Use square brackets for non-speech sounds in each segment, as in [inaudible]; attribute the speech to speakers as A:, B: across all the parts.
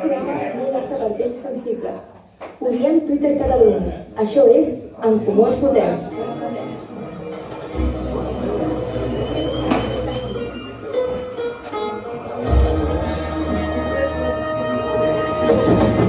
A: Programes apte per temps sensibles. Odiem Twitter Catalunya. Això és En Comú ens fotem.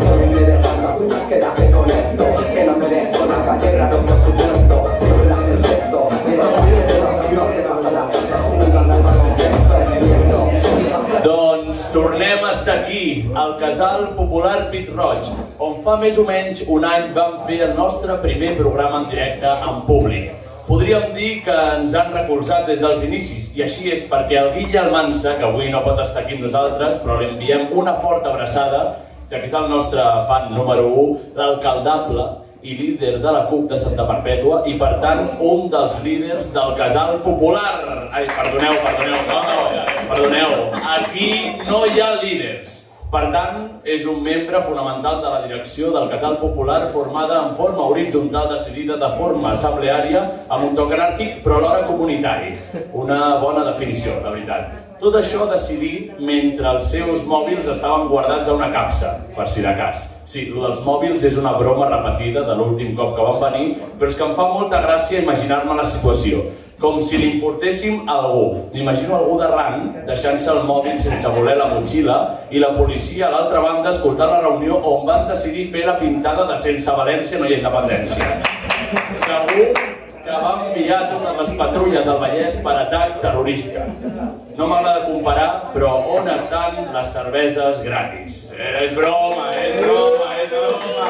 B: Soy interesada, tú quédate con esto Que no merezco la calle, raro por supuesto Sobre las el resto, me lo de los tiros Se pasa las tardes sin un gran baloncesto Es cierto,
C: Doncs tornem a estar aquí, al Casal Popular Pit Roig, on fa més o menys un any vam fer el nostre primer programa en directe en públic. Podríem dir que ens han recolzat des dels inicis, i així és perquè el Guille Almansa, que avui no pot estar aquí amb nosaltres, però li enviem una forta abraçada, ja que és el nostre fan número 1, l'alcaldable i líder de la CUP de Santa Perpètua, i per tant un dels líders del Casal Popular. Ai, perdoneu, perdoneu, no, no, Perdoneu, aquí no hi ha líders. Per tant, és un membre fonamental de la direcció del Casal Popular formada en forma horitzontal decidida de forma assembleària amb un toc anàrquic però alhora comunitari. Una bona definició, la veritat. Tot això decidit mentre els seus mòbils estaven guardats a una capsa, per si de cas. Sí, el dels mòbils és una broma repetida de l'últim cop que van venir, però és que em fa molta gràcia imaginar-me la situació com si li importéssim a algú. M'imagino algú de rang deixant-se el mòbil sense voler la motxilla i la policia a l'altra banda escoltant la reunió on van decidir fer la pintada de sense València no hi ha independència. Segur que va enviar totes les patrulles del Vallès per atac terrorista. No m'agrada comparar, però on estan les cerveses gratis? Eh, és broma, és broma, és broma!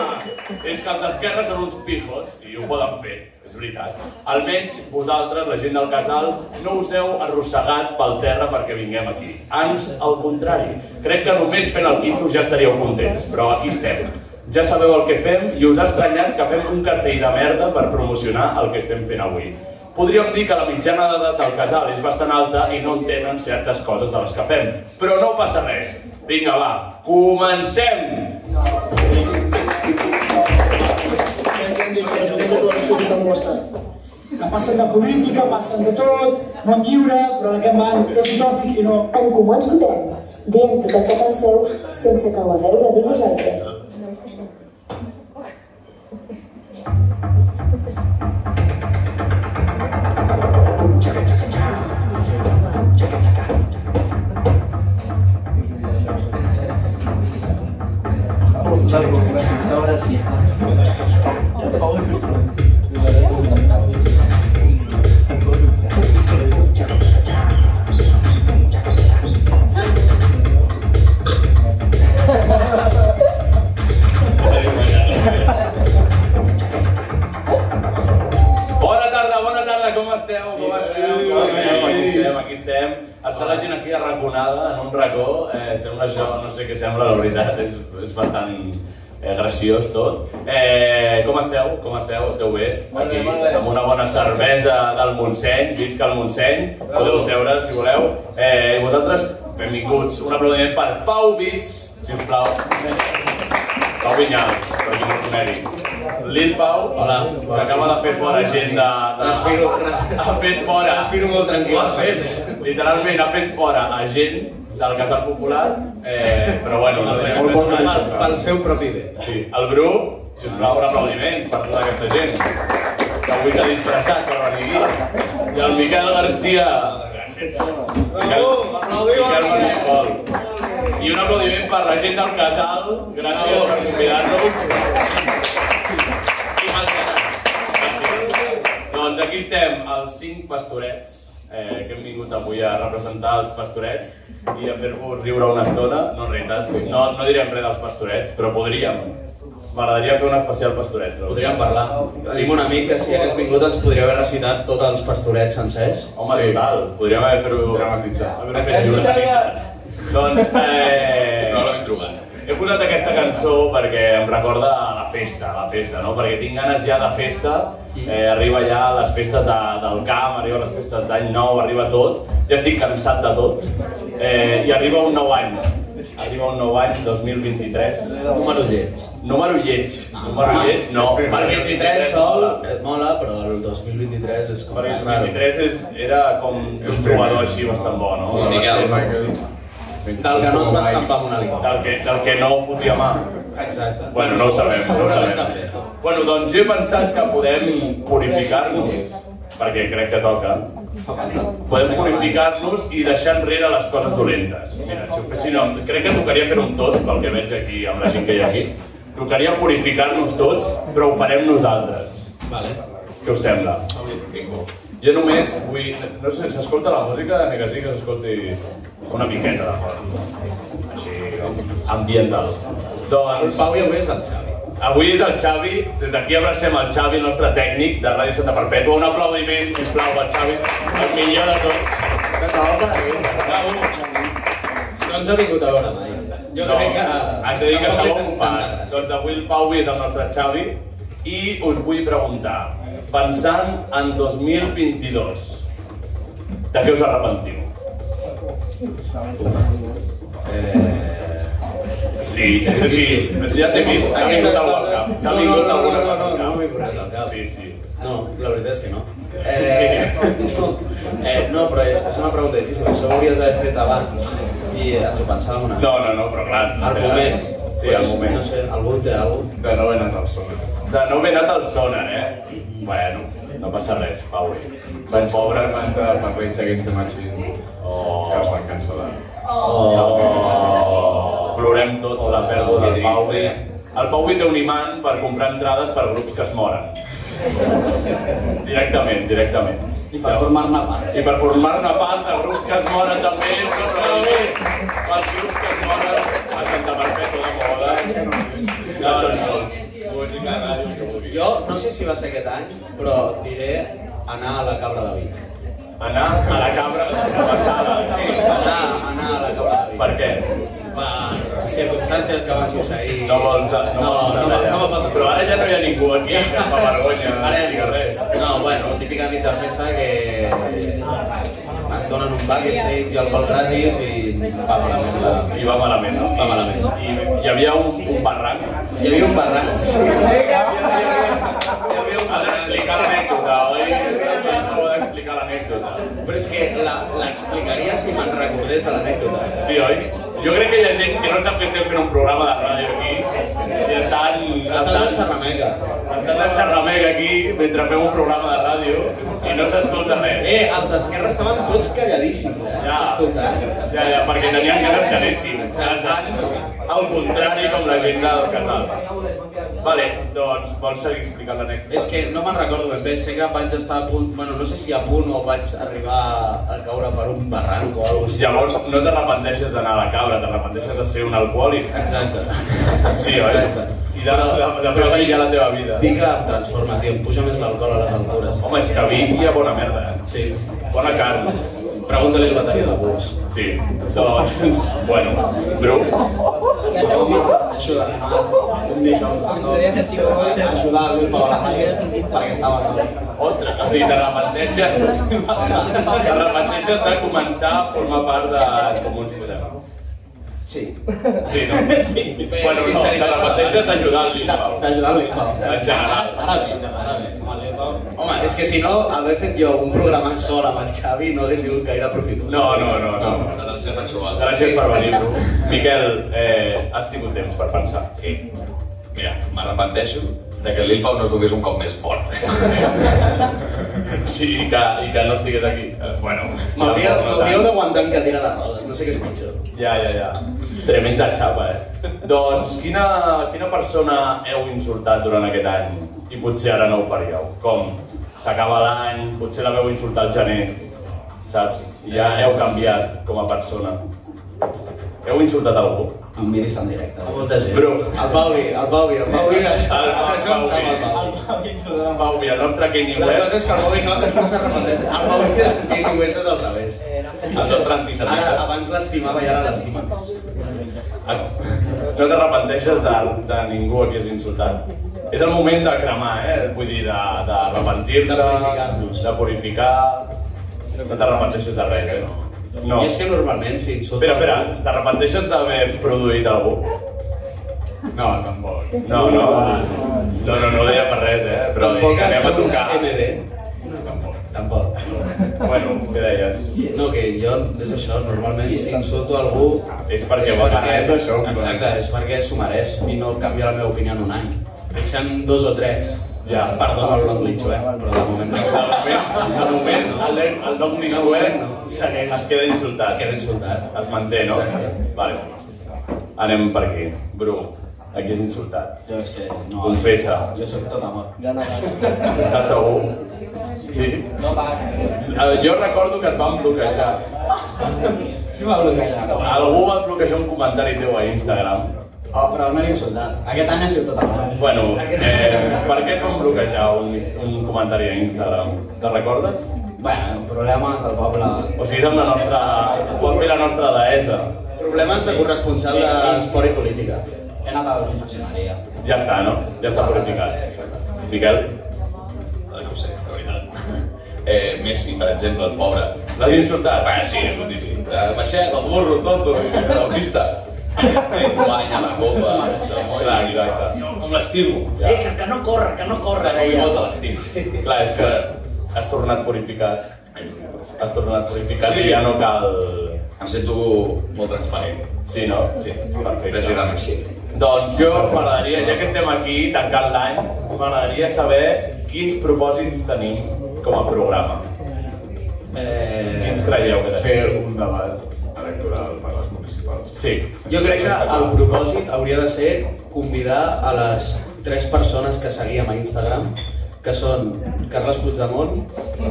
C: És que els d'esquerra són uns pijos i ho poden fer, és veritat. Almenys vosaltres, la gent del casal, no us heu arrossegat pel terra perquè vinguem aquí. Ans, al contrari. Crec que només fent el quinto ja estaríeu contents, però aquí estem. Ja sabeu el que fem i us ha estranyat que fem un cartell de merda per promocionar el que estem fent avui. Podríem dir que la mitjana d'edat del casal és bastant alta i no entenen certes coses de les que fem, però no passa res. Vinga, va, comencem!
D: que passen de política, passen de tot, món lliure, però en aquest van és utòpic i no...
A: En Comú ens fotem. Diem tot el que penseu sense que ho hagueu de dir vosaltres.
E: Pues, Ahora sí.
C: Bona tarda, bona tarda, com esteu? Com esteu? Com esteu? Aquí estem, aquí estem. Està la gent aquí arraconada, en un racó. Eh, sembla això, no sé què sembla, la veritat. És, és bastant eh, graciós tot. Eh, com esteu? Com esteu? Esteu bé?
E: Molt bé,
C: Aquí,
E: molt bé.
C: amb una bona cervesa del Montseny. Visca el Montseny. Podeu seure, si voleu. Eh, i vosaltres, benvinguts. Un aplaudiment per Pau Bits, si us plau. Pau Vinyals, per qui no el conegui. Lil Pau, hola, que acaba de fer fora gent de... de...
F: Respiro, respiro.
C: Ha fet fora.
F: Respiro molt tranquil.
C: Ho ha fet. Literalment ha fet fora a gent del Casal Popular, eh, però bueno, no sé. Molt
F: Pel, pel seu propi bé.
C: Sí. El Bru, sisplau, un aplaudiment per tota aquesta gent que avui s'ha disfressat per venir aquí. I el Miquel Garcia. Gràcies. Miquel,
F: aplaudiu al
C: Miquel
F: Miquel.
C: Manicol. I un aplaudiment per la gent del casal. Gràcies per convidar-nos. I mal quedat. Gràcies. Doncs aquí estem, els cinc pastorets eh, que hem vingut avui a representar els pastorets i a fer-vos riure una estona. No, en realitat, no, no direm res dels pastorets, però podríem. M'agradaria fer un especial pastorets. la veritat.
F: Podríem parlar. Tenim un amic que si hagués vingut ens podria haver recitat tots els pastorets sencers.
C: Home, sí. total, podríem haver fer-ho...
F: Dramatitzat.
C: Haver fet dramatitzat. Doncs, eh...
F: No l'hem trobat.
C: He posat aquesta cançó perquè em recorda a la festa, a la festa, no? Perquè tinc ganes ja de festa, eh, arriba ja les festes de, del camp, arriba les festes d'any nou, arriba tot, ja estic cansat de tot, eh, i arriba un nou any, arriba un nou any, 2023,
F: Número lleig.
C: número lleig,
F: Ah.
C: número lleig, no,
F: El
C: perquè
F: 23 sol et Eh, mola, però el 2023 és com...
C: Perquè el 23 és, era com un trobador així bastant bo, no?
F: Sí, Miquel. Del que no es va estampar amb un helicòpter.
C: Del que, del que no fotia mà.
F: Exacte.
C: Bueno, no ho sabem, no ho
F: També.
C: sabem. Bueno, doncs jo he pensat que podem purificar-nos, perquè crec que toca.
F: Fa falta.
C: Podem purificar-nos i deixar enrere les coses dolentes. Mira, si ho fessin... Amb... Crec que tocaria fer un tot, pel que veig aquí amb la gent que hi ha aquí. Tocaria purificar-nos tots, però ho farem nosaltres.
F: Vale.
C: Què us sembla?
F: Bingo.
C: Jo només vull... No sé, s'escolta la música? Ni que sí que s'escolti una miqueta de fons. Així, ambiental.
F: El
C: Doncs
F: Pau i avui és el Xavi.
C: avui és el Xavi, des d'aquí abracem el Xavi, el nostre tècnic de Ràdio Santa Perpètua. Un aplaudiment, sisplau, pel Xavi, el millor de tots.
F: Que tal, París?
C: Bravo.
F: No ens ha vingut a veure mai. Jo
C: no,
F: crec que...
C: Has de dir que
F: tampoc li
C: estava
F: fem tanta
C: ocupat.
F: gràcia.
C: Doncs avui el Pau és el nostre Xavi i us vull preguntar, pensant en 2022, de què us arrepentiu?
F: Eh,
C: Sí, sí, ja t'he vist, t'ha vingut
F: Aquestes
C: algú al
F: coses-
C: cap. T'ha
F: No,
C: vingut
F: no, no,
C: algú al
F: no,
C: cap.
F: no, no, no m'he vingut al cap.
C: tota Sí, sí.
F: No, la veritat és que no. Eh, no, eh, no, però és, és una pregunta difícil. Això ho hauries d'haver fet abans i ens ho pensàvem una mica.
C: No, no, no, però clar...
F: Al moment.
C: Sí, al moment.
F: No sé, algú té algú.
C: De no haver anat al sonar. De no haver anat al sonar, eh? Bueno, no passa res, Pau. Són pobres.
E: per Rage Against the Machine
C: Oh.
E: que els van cancel·lar.
C: Oh. Plorem tots Oh, la pèrdua del Pau. El Pau té un imant per comprar entrades per grups que es [laughs] moren. Directament, directament.
F: I per formar-ne part.
C: I per formar-ne part de grups que es moren també, un aplaudiment pels grups que es moren a Santa Perpètua de Mogoda. Que són molts. Música, ràdio, que vulguis.
F: Jo no sé si va ser aquest any, però diré anar a la Cabra de Vic.
C: Anar a la cabra de la sala, sí.
F: Anar, anar a la Cabra de Vic.
C: Per què?
F: per circumstàncies que van succeir.
C: No vols de...
F: No,
C: vols
F: no,
C: anar
F: va-
C: allà.
F: no va faltar.
C: Però ara ja no hi ha ningú aquí que fa vergonya.
F: Ara ja
C: ni
F: dic res. No, bueno, típica nit de festa que et donen un backstage i alcohol gratis i va malament la
C: I
F: festa.
C: va malament, no?
F: Va malament.
C: I hi havia un, un barranc.
F: Hi havia un barranc. Sí. Hi havia, hi havia, hi havia un
C: Has
F: barranc.
C: d'explicar l'anècdota, oi? Heu d'explicar l'anècdota.
F: Però és que la- l'explicaria si me'n recordés de l'anècdota.
C: Sí, oi? Jo crec que hi ha gent que no sap que estem fent un programa de ràdio aquí i estan...
F: Està en xerrameca.
C: estan de xerramec aquí mentre fem un programa de ràdio i no s'escolta res.
F: Eh, els d'Esquerra estaven tots calladíssims, eh?
C: Ja.
F: Escoltant.
C: Ja, ja, perquè tenien ganes que anéssim. Tants al contrari com la gent del casal. Vale, doncs vols seguir explicant l'anècdota?
F: És que no me'n recordo ben bé, sé que vaig estar a punt, bueno, no sé si a punt o vaig arribar a caure per un barranc o alguna cosa
C: Llavors no t'arrepenteixes d'anar a la cabra, t'arrepenteixes de ser un alcohòlic.
F: així. Exacte.
C: Sí, oi? I de, de, de fer brillar la teva vida.
F: Vinc que em transforma, tio, em puja més l'alcohol a les altures.
C: Home, és que vi hi ha bona merda, eh?
F: Sí.
C: Bona carn.
F: Pregunta-li al bateria de Bulls.
C: Sí, doncs, bueno, Bru,
G: Ajuda. Ajudar a Luis Paola perquè estava sol.
C: ostres, o sigui, t'arrepenteixes, t'arrepenteixes de començar a formar part de Comuns Podem.
G: Sí.
C: Sí, no?
G: Sí.
C: Bueno, no, te la mateixa t'ajudant-li, Pau.
G: D'ajudar a Luis Paola.
C: En general.
G: Ara bé, ara bé. Vale, Pau.
F: Home, és que si no, haver fet jo un programa sol amb el Xavi no hagués sigut gaire profitós.
C: No, no, no, no.
F: Relació sexual.
C: Gràcies per venir, Bru. Miquel, eh, has tingut temps per pensar. Sí.
H: Mira, m'arrepenteixo de que el Lil Pau no es donés un cop més fort.
C: Sí, i que, i que no estigués aquí. Eh, Bueno,
F: M'hauríeu
C: tampoc, no tant.
F: m'hauríeu d'aguantar en cadira de rodes, no sé què és pitjor.
C: Ja, ja, ja. Tremenda xapa, eh? Doncs quina, quina persona heu insultat durant aquest any? I potser ara no ho faríeu. Com? S'acaba l'any, potser la veu insultar al gener, saps? I ja heu canviat com a persona. Heu insultat algú?
G: Em miris tan directe.
C: eh?
F: A molta gent.
C: Bru.
F: El Pauvi, el Pauvi, el Pauvi. Això,
C: El Pau,
F: això em sap el
C: Pauvi.
F: Pauvi.
C: Pau, i el nostre Kanye
F: La cosa és
C: West,
F: que el Bobby no, no s'arrepenteix. El Bobby que ni ho és des del revés.
C: Eh. el nostre
F: Ara,
C: antisemita.
F: abans l'estimava i ara l'estima més.
C: Ah, No t'arrepenteixes de, de ningú a qui has insultat. És el moment de cremar, eh? Vull dir, de, de repentir-te,
F: De purificar-nos.
C: de purificar... No t'arrepenteixes de res, eh? No.
F: No.
C: no.
F: I és que normalment si insulta...
C: Espera, espera, t'arrepenteixes d'haver produït algú?
E: No, tampoc.
C: No, no, no, no, no ho deia per res, eh? Però
F: Tampoc
C: vinga,
F: el
C: anem a
F: Cruz
C: tocar.
F: MB. Tampoc. Tampoc.
C: Bueno, què deies?
F: No, que jo, és això, normalment si insulto algú...
C: És perquè vol,
E: és això, clar.
F: Exacte, és perquè s'ho mereix i no canvia la meva opinió en un any. Potser en dos o tres.
C: Ja.
F: Perdona el nom Lichue, eh, però de moment no.
C: [laughs] De moment, de moment, el, el nom
F: De
C: Nishuel
F: moment no, segueix.
C: es queda insultat.
F: Es queda insultat.
C: Es manté, no?
F: Exacte.
C: Vale. Anem per aquí. Bru, aquí és insultat.
F: Jo és que no...
C: Confessa.
F: Jo soc tot amor.
I: Jo no vaig.
C: Estàs segur? Sí?
I: No vaig.
C: Eh, Jo recordo que et van bloquejar.
F: Qui m'ha bloquejat?
C: Algú va bloquejar un comentari teu a Instagram.
F: Oh, però no l'he insultat. Aquest any ha sigut tot amor.
C: Bueno, eh, per què et van bloquejar un, un comentari a Instagram? Te recordes?
F: Bueno, problemes del poble...
C: O sigui, és amb la nostra... Ho va fer la nostra deessa.
F: Problemes de corresponsal d'esport i política. He anat a la confessionaria.
C: Ja està, no? Ja està purificat. Miquel,
E: No ho sé, de veritat. Eh, Messi, per exemple, el pobre.
C: l'has insultat?
E: Ah, sí, és el típic. Eh, Baixet, el burro, tonto, i l'autista. És que es guanya la copa, això, molt
C: Clar, exacte.
E: No, com l'estimo.
C: Ja.
F: Eh, que, que no corre, que no corre,
E: Ara ja. Molt l'estimo.
C: Clar, és que has tornat purificat. Has tornat purificat i ja no cal...
E: Em sento molt transparent.
C: Sí, no? Sí, perfecte.
E: Gràcies a Messi.
C: Doncs jo m'agradaria, ja que estem aquí tancant l'any, m'agradaria saber quins propòsits tenim com a programa.
F: Eh,
C: Quins creieu que tenim?
E: Fer un debat electoral per les municipals.
C: Sí.
F: jo crec que el propòsit hauria de ser convidar a les tres persones que seguíem a Instagram, que són Carles Puigdemont,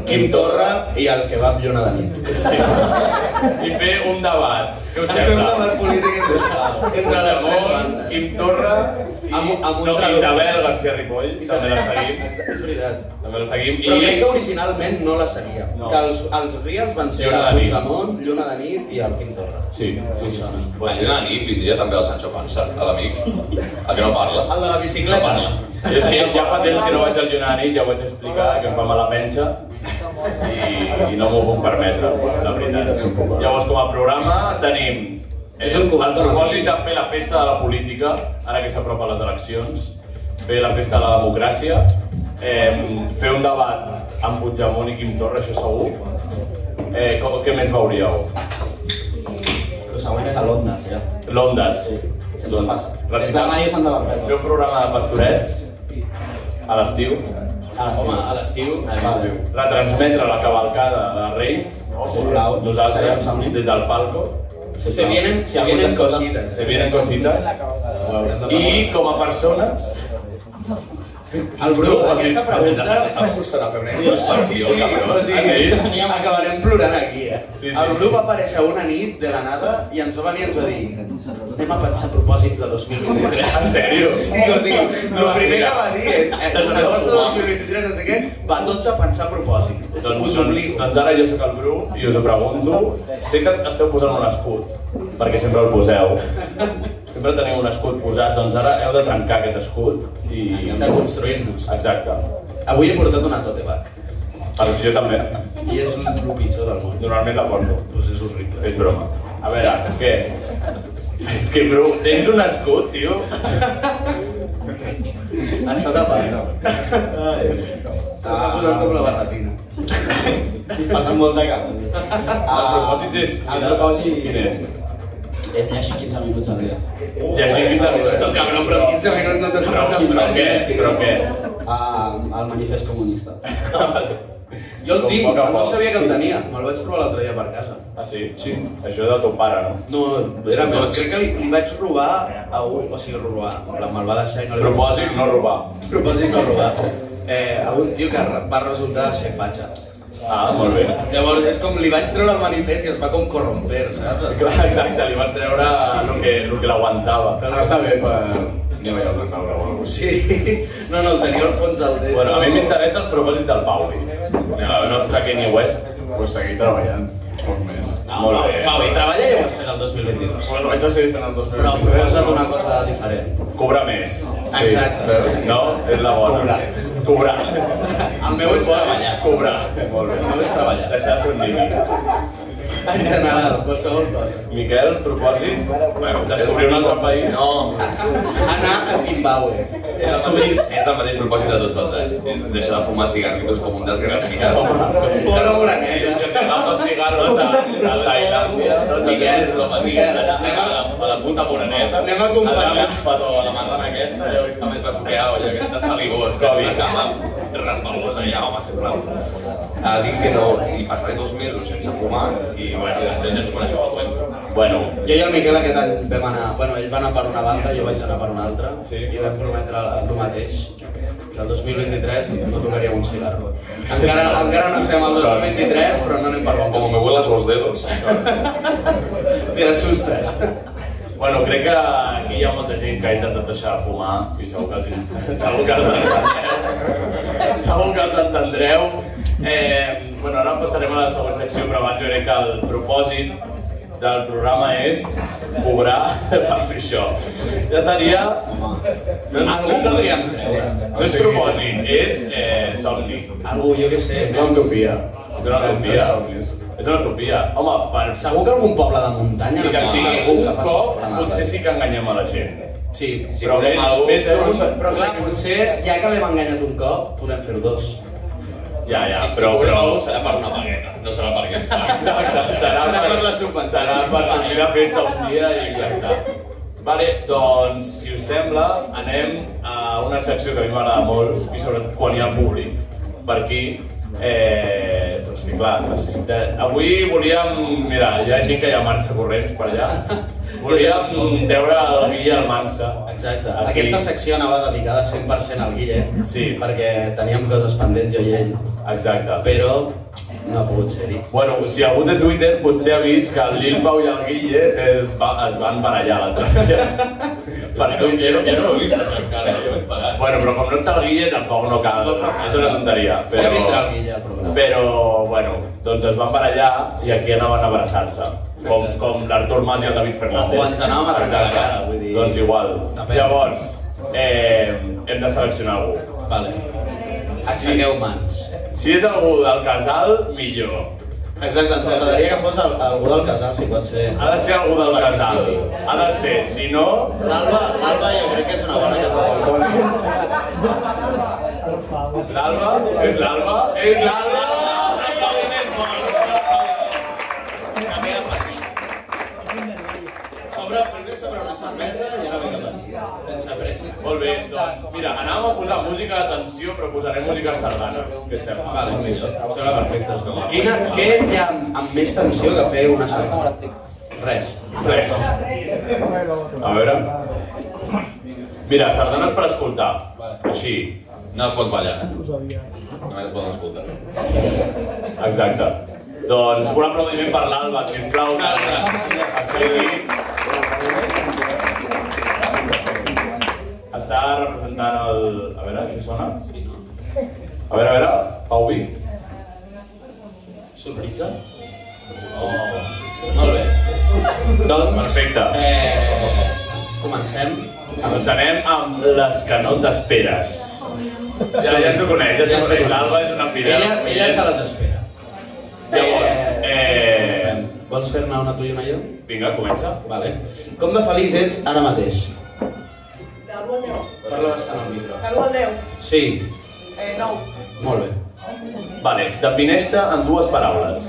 F: Quim Torra i el que va Llona de nit.
C: sí. I fer un debat. Què us
F: Fem un
C: sembla?
F: debat polític entre, entre les tres
C: Puigdemont,
F: bandes.
C: Quim Torra i
F: Amb un- amb un
C: no,
F: traductor.
C: Isabel García Ripoll, també la seguim.
F: Exacte, És veritat.
C: També la seguim.
F: Però crec
C: I
F: que originalment no la seguia.
C: No.
F: Que els, els reels van ser
C: Lluna
F: el
C: de nit.
F: Puigdemont, Lluna de nit i el Quim Torra.
C: Sí, sí, sí. sí.
E: Imagina la nit, vindria també el Sancho Panza, a l'amic, el que no parla.
F: El de la
E: No
F: bicicleta.
E: parla.
C: I és que ja fa temps que no vaig al Yunani, ja ho vaig explicar, que em fa mala penxa i, i no m'ho puc permetre, la veritat. Llavors, com a programa tenim és
F: És un
C: el
F: covard de la
C: propòsit de
F: política.
C: fer la festa de la política, ara que s'apropen les eleccions, fer la festa de la democràcia, eh, fer un debat amb Puigdemont i Quim Torra, això segur. Eh, com, què més veuríeu?
F: Però següent era l'Ondas, ja.
C: L'Ondes.
I: Se'ns passa.
C: Recitar-
I: Demà i Sant de Barbet.
C: Fer un programa de pastorets a l'estiu.
F: Home, a l'estiu... A l'estiu.
C: retransmetre la cavalcada de Reis,
F: Sisplau.
C: nosaltres, des del palco,
F: Se vienen, se vienen cositas. eh.
C: se vienen cositas, i com a persones,
F: El Bru, aquesta pregunta...
E: Està forçant a fer una introspecció,
F: o
E: cabrón.
F: sigui, acabarem plorant aquí, eh?
C: Sí, sí.
F: El Bru va aparèixer una nit de la nada i ens va venir i ens va dir anem a pensar propòsits de 2023.
C: en sèrio,
F: Sí, o sigui, el primer que va dir és eh, l'agost de 2023, no sé què, va tots a pensar propòsits.
C: doncs, doncs, doncs ara jo sóc el Bru i us ho pregunto, sé que esteu posant un escut, perquè sempre el poseu, sempre teniu un escut posat, doncs ara heu de trencar aquest escut i...
F: Hem de construir-nos.
C: Exacte,
F: Avui he portat una tote bag
C: Per- jo també,
F: i és el pitjor del món.
C: normalment la porto.
F: Doncs és horrible.
C: És broma. A veure, què? És que, bro, tens un escut, tio.
F: Està tapat. No? S'està posant com la barretina.
I: Passa molt de cap.
C: El propòsit és...
I: El propòsit-
C: Quin és?
I: Eh,
F: És llegir 15 minuts al dia.
C: Llegir 15 minuts.
F: Però, cabrón, però 15 minuts de tot
C: Però, però què? Però què?
I: Ah, el manifest comunista.
F: [laughs] Jo el tinc,
C: Com poc a
F: no
C: poc.
F: sabia que el tenia. Me'l vaig trobar l'altre dia per casa.
C: Ah, sí? Sí. Això és del teu pare, no?
F: No, era meu. Crec que li, li vaig robar a un... O sigui, robar. En plan, Me'l va deixar i no li vaig-
C: Propòsit, no robar.
F: [laughs] Propòsit no robar. Eh, a un tio que va resultar ser fatxa.
C: Ah, molt bé.
F: Llavors, és com li vaig treure el manifest i es va com corromper, saps?
C: Clar, exacte, li vas treure el que, el que l'aguantava.
E: Està bé per... Anem allà al restaurant o alguna cosa.
F: Sí. No, no, el tenia al fons del dest.
C: Bueno, a mi m'interessa el propòsit del Pauli, el nostre Kenny West. Ah,
E: Pues seguir treballant, poc més.
C: Molt bé.
F: Pau, i treballa ja ho has fet el 2022.
E: Bueno, vaig a seguir fent el 2023.
F: Però proposa't una cosa diferent.
C: Cobrar més.
F: Exacte.
C: No? És la bona. Cobrar. Cobrar.
F: El meu és treballar.
C: Cobrar. Molt bé.
F: El meu és treballar.
C: Deixar-se un límit.
F: En general, qualsevol cosa.
E: Miquel, propòsit? Bueno,
C: Descobrir un altre país.
E: No,
F: Anar a Zimbabue.
E: és el, mateix, és el mateix propòsit de tots els anys. És deixar de fumar cigarritos com un desgraciat.
F: Pobre eh? oreneta.
C: Que s'agafa els cigarros
E: Cigarros
C: a,
E: a, [laughs] a Tailàndia, tots els
F: Miquel,
E: anys Doncs és el mateix.
F: Miquel,
E: Anar a la, a la puta moreneta.
F: Anem a confessar.
E: Anar amb un petó a la marrana aquesta, allò que està més besuqueada, allò que està salivós, que una cama resbalbosa ja, home, sisplau. Ah, dic que no, i passaré dos mesos sense fumar, i, bueno, i després ja ens coneixeu al web.
C: Bueno,
F: Jo i el Miquel aquest any vam anar, bueno, ell va anar per una banda, jo vaig anar per una altra, i vam prometre el mateix, que el 2023 no tocaríem un cigarro. Encara, encara no estem al 2023, però no anem per bon
E: Como me
F: camí.
E: vuelas los dedos.
F: Te asustes.
C: Bueno, crec que aquí hi ha molta gent que ha intentat deixar de fumar i segur que els, [laughs] segur que els entendreu. segur que els entendreu. Eh, bueno, ara passarem a la següent secció, però abans jo crec que el propòsit del programa és cobrar [laughs] per fer això. Ja seria... No,
F: Algú podríem treure.
C: No és propòsit, és eh, somni.
F: Algú, jo què sé, és una utopia.
C: És una utopia. És una utopia. Home, per
F: Segur
C: segur
F: que algun poble de muntanya
C: que, que sigui
F: algú
C: un
F: que faci
C: cop,
F: programa.
C: potser sí que enganyem a la gent.
F: Sí, sí.
C: Però més, més
F: Però,
C: d'un,
F: però clar, potser, ja que l'hem enganyat un cop, podem fer-ho dos.
C: Ja, ja,
E: Sí,
C: però, però...
E: serà per una pagueta, no serà per aquest.
C: Exacte, serà
F: Serà per la
C: per,
F: subvenció.
C: serà per sortir de festa un dia i ja està. Vale, doncs, si us sembla, anem a una secció que a mi m'agrada molt, i sobretot quan hi ha públic per aquí. Eh, però és que clar, necessita- avui volíem... Mira, hi ha gent que ja marxa corrents per
F: [laughs]
C: allà. Volíem treure el Guilla Almansa.
F: Exacte.
C: Aquí.
F: Aquesta secció anava dedicada 100% al Guille,
C: Sí.
F: perquè teníem coses pendents jo i ell,
C: Exacte.
F: però no ha pogut ser-hi.
C: Bueno, si algú de Twitter potser ha vist que el Lil Pau i el Guille es, va, es van barallar l'altre dia. per Twitter, ja no ho he vist.
E: Això encara, jo vaig pagar.
C: Bueno, però com no està el Guille, tampoc no cal. És una tonteria.
F: Però... Ja vindrà
C: Però,
F: el Guille al programa.
C: però bueno, doncs es van barallar i aquí anaven a abraçar-se. Com,
F: Exacte.
C: com l'Artur Mas i el David Fernández.
F: O ens anàvem a trencar la
C: Exacte.
F: cara, vull dir-
C: Doncs igual.
F: Depèn.
C: Llavors, eh, hem de seleccionar algú.
F: Vale. Aixequeu mans.
C: Si és algú del casal, millor.
F: Exacte, ens agradaria que fos al- algú del casal, si pot ser.
C: Ha de ser algú del
F: Perquè
C: casal.
F: sí.
C: Ha de ser, si no,
F: L'Alba, l'Alba jo crec que és una bona que
C: L'Alba? És l'Alba? És l'Alba!
F: Sobre, primer sobre una cervesa i ara ve cap aquí. Sense pressa.
C: Molt bé, doncs mira, anàvem a posar música de tensió, però posaré música sardana. Què et sembla?
F: Vale, em sembla perfecte. Quina, què hi ha amb més tensió que fer una cervesa? Res.
C: Res. A veure... Mira, sardanes per escoltar. Així.
E: No es pot ballar, eh? Només es poden escoltar.
C: Exacte. Doncs un aplaudiment per l'Alba, sisplau, que està aquí. Està representant el... A veure, això sona? A veure, a veure, Pau Vi.
F: Sorpresa?
C: Oh.
F: Molt bé. Doncs...
C: Perfecte.
F: Eh, comencem.
C: Doncs anem amb les que no t'esperes. Ja, ja s'ho coneix, ja s'ho coneix. L'Alba és una fidel.
F: Ella, ella se les espera.
C: Llavors, eh...
F: Fem. Vols fer-ne una tu i una jo?
C: Vinga, comença.
F: Vale. Com de feliç ets ara mateix? Parla bastant al micro.
J: Del 1 al 10,
F: Sí,
J: eh, 9.
F: molt bé.
C: Vale, defineix-te en dues paraules.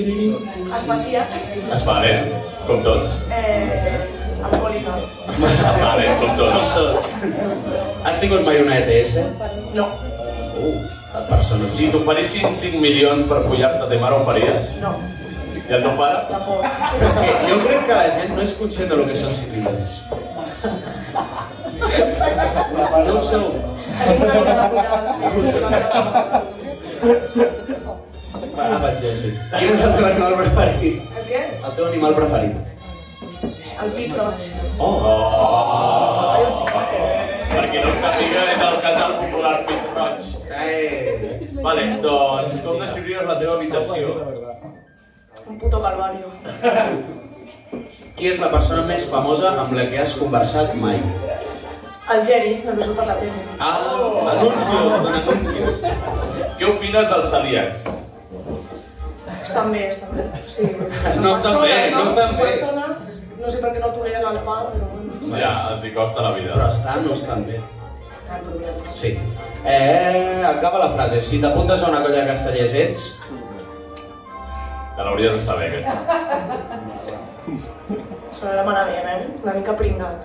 J: Espaciat,
F: Es
C: Vale, com tots.
J: eh, alcohòlica.
C: Vale, com tots.
F: Tots. Has tingut mai una ETS?
J: No,
F: Uh, persona.
C: Si t'oferissin 5 milions per follar-te a te mare, ho faries?
J: no,
C: I el teu pare?
J: tampoc.
F: És que jo crec que la gent no és conscient del que són ciclistes. No ho sou.
J: Tenim una mica de moral. Tenim una mica de moral.
F: Va, va, Jesse. Quin és el teu animal preferit?
J: El què?
F: El teu animal preferit?
J: El pit roig.
F: Oh!
C: Per qui no ho sàpiga, és el casal popular Pit Roig.
F: Eh.
C: Vale, doncs com descriuries la teva habitació?
J: Un puto calvario.
F: Qui és la persona més famosa amb la que has conversat mai?
J: El Geri, que no surt per la tele.
F: Ah, anuncio, don anuncios.
C: Què opina que els celíacs?
J: Estan bé, estan bé. Sí, són
F: No estan bé,
J: persones,
F: no estan bé.
J: Persones, no sé per què no toleren el pa, però bueno,
C: Ja, els hi costa la vida.
F: Però estan o estan bé?
J: cap problema.
F: Sí. Eh, acaba la frase. Si t'apuntes a una colla de castellers ets...
C: Te l'hauries de saber, aquesta.
J: Sonarà malament, eh? Una mica pringat.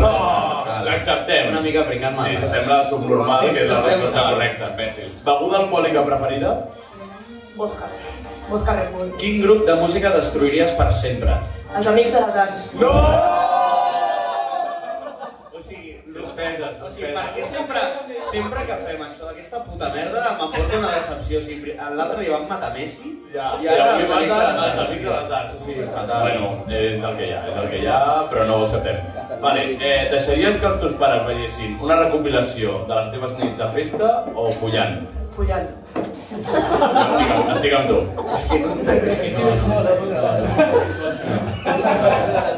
C: No,
F: no.
C: l'acceptem.
F: Oh! Una mica pringat mal.
C: Oh! Sí, s'assembla a subnormal, que és la resposta correcta.
E: Imbècil.
C: Beguda alcohòlica preferida?
J: Vodka. Vodka Red Bull.
F: Quin grup de música destruiries per sempre?
J: Els amics de les arts.
C: No!
F: O sigui,
C: Suspeses,
F: O sigui, per què sempre, sempre que fem això d'aquesta puta merda m'emporta una decepció? O sigui, pri- l'altre dia van matar Messi
C: Ja,
F: i ara
C: avui
F: els
C: vas
F: amics
C: de
F: de
C: les
F: les
C: arts,
F: arts.
C: amics de les arts.
F: Sí, fatal.
C: Bueno, és el que hi ha, és el que hi ha, però no ho acceptem. Vale, eh, deixaries que els teus pares veiessin una recopilació de les teves nits de festa o follant?
J: Follant.
C: No, estic, amb, estic amb tu.
F: És que no, és que no, no, no.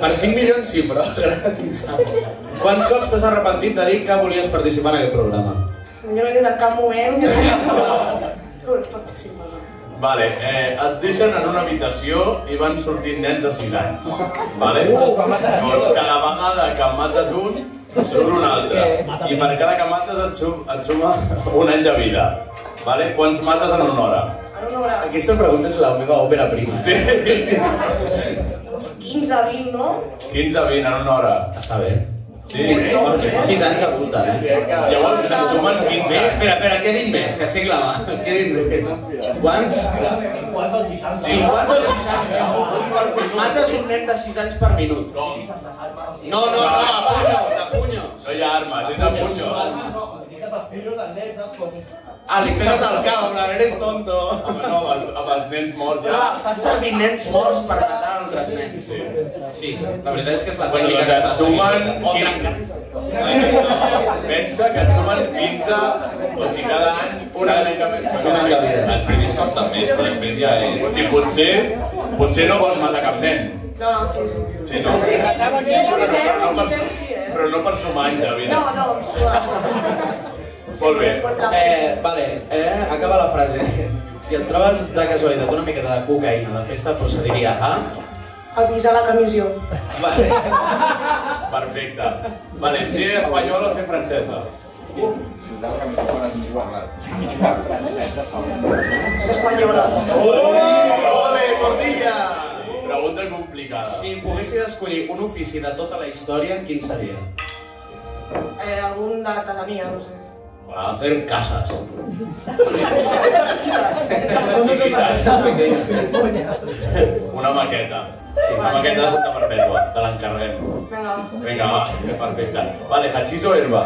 F: Per 5 milions sí, però [laughs] gratis. Quants cops t'has arrepentit de dir que volies participar en aquest programa?
J: Jo no he dit en cap moment que no es participa.
C: Vale, eh, et deixen en una habitació i van sortint nens de 6 anys. Vale? Llavors, cada vegada que mates un, surt un altre. I per cada que mates et, sum, et suma un any de vida. Vale? Quants mates en una hora?
J: Ara no veurà.
F: Aquesta pregunta és la meva òpera prima. eh?
C: Sí, sí.
J: 15, 20, no?
C: 15 a 20 en una hora.
F: Està bé.
C: Sí,
F: sí.
J: no, sí.
F: 6 anys al voltant, eh?
C: Llavors, en sumes
F: Bé,
C: 15.
F: espera, espera, què he dit més? Que aixequi la mà. Què he dit més? Quants? 50 o 60? Mates un nen de 6 anys per minut.
C: Com?
F: No, no, no, a punyos, a punyos.
C: No hi ha armes, és de punyos.
F: Ah, li pegues al cap, en plan, eres tonto.
C: Home, no, amb, amb els nens morts ja.
F: Ah, fa servir nens morts per matar altres nens. Sí, sí la veritat és que és la
C: Bueno,
F: tècnica
C: doncs
F: que
C: et
F: s'ha
C: sumen...
F: seguit. O trencar.
C: Pensa que et sumen 15, o sigui, cada any, una mica més.
F: Una mica bé.
E: Els primers costen més, però després ja
C: O
E: és...
C: sigui, potser, potser no vols matar cap nen.
J: No, no, sí, sí.
C: Sí, no?
J: Jo crec que
C: Però no
J: no,
C: per,
J: sí, eh?
C: però no per sumar anys de vida.
J: No, no, suave.
C: Molt bé.
F: Eh, vale, eh, acaba la frase. Si et trobes de casualitat una miqueta de cocaïna de festa, procediria a...
J: Avisar la comissió.
F: Vale. [laughs]
C: Perfecte. Vale, ser espanyola o ser francesa?
J: Ser espanyola.
F: Ole, tortilla!
C: Pregunta complicada.
F: Si poguessis escollir un ofici de tota la història, quin seria?
J: Eh, algun d'artesania, no sé.
C: Va,
F: Hacer casas.
J: Chiquitas.
C: Chiquitas. Una maqueta. Sí, una maqueta de Santa Perpètua. Te l'encarreguem.
J: Vinga,
C: Vinga, va, perfecte. Vale, hachís o herba?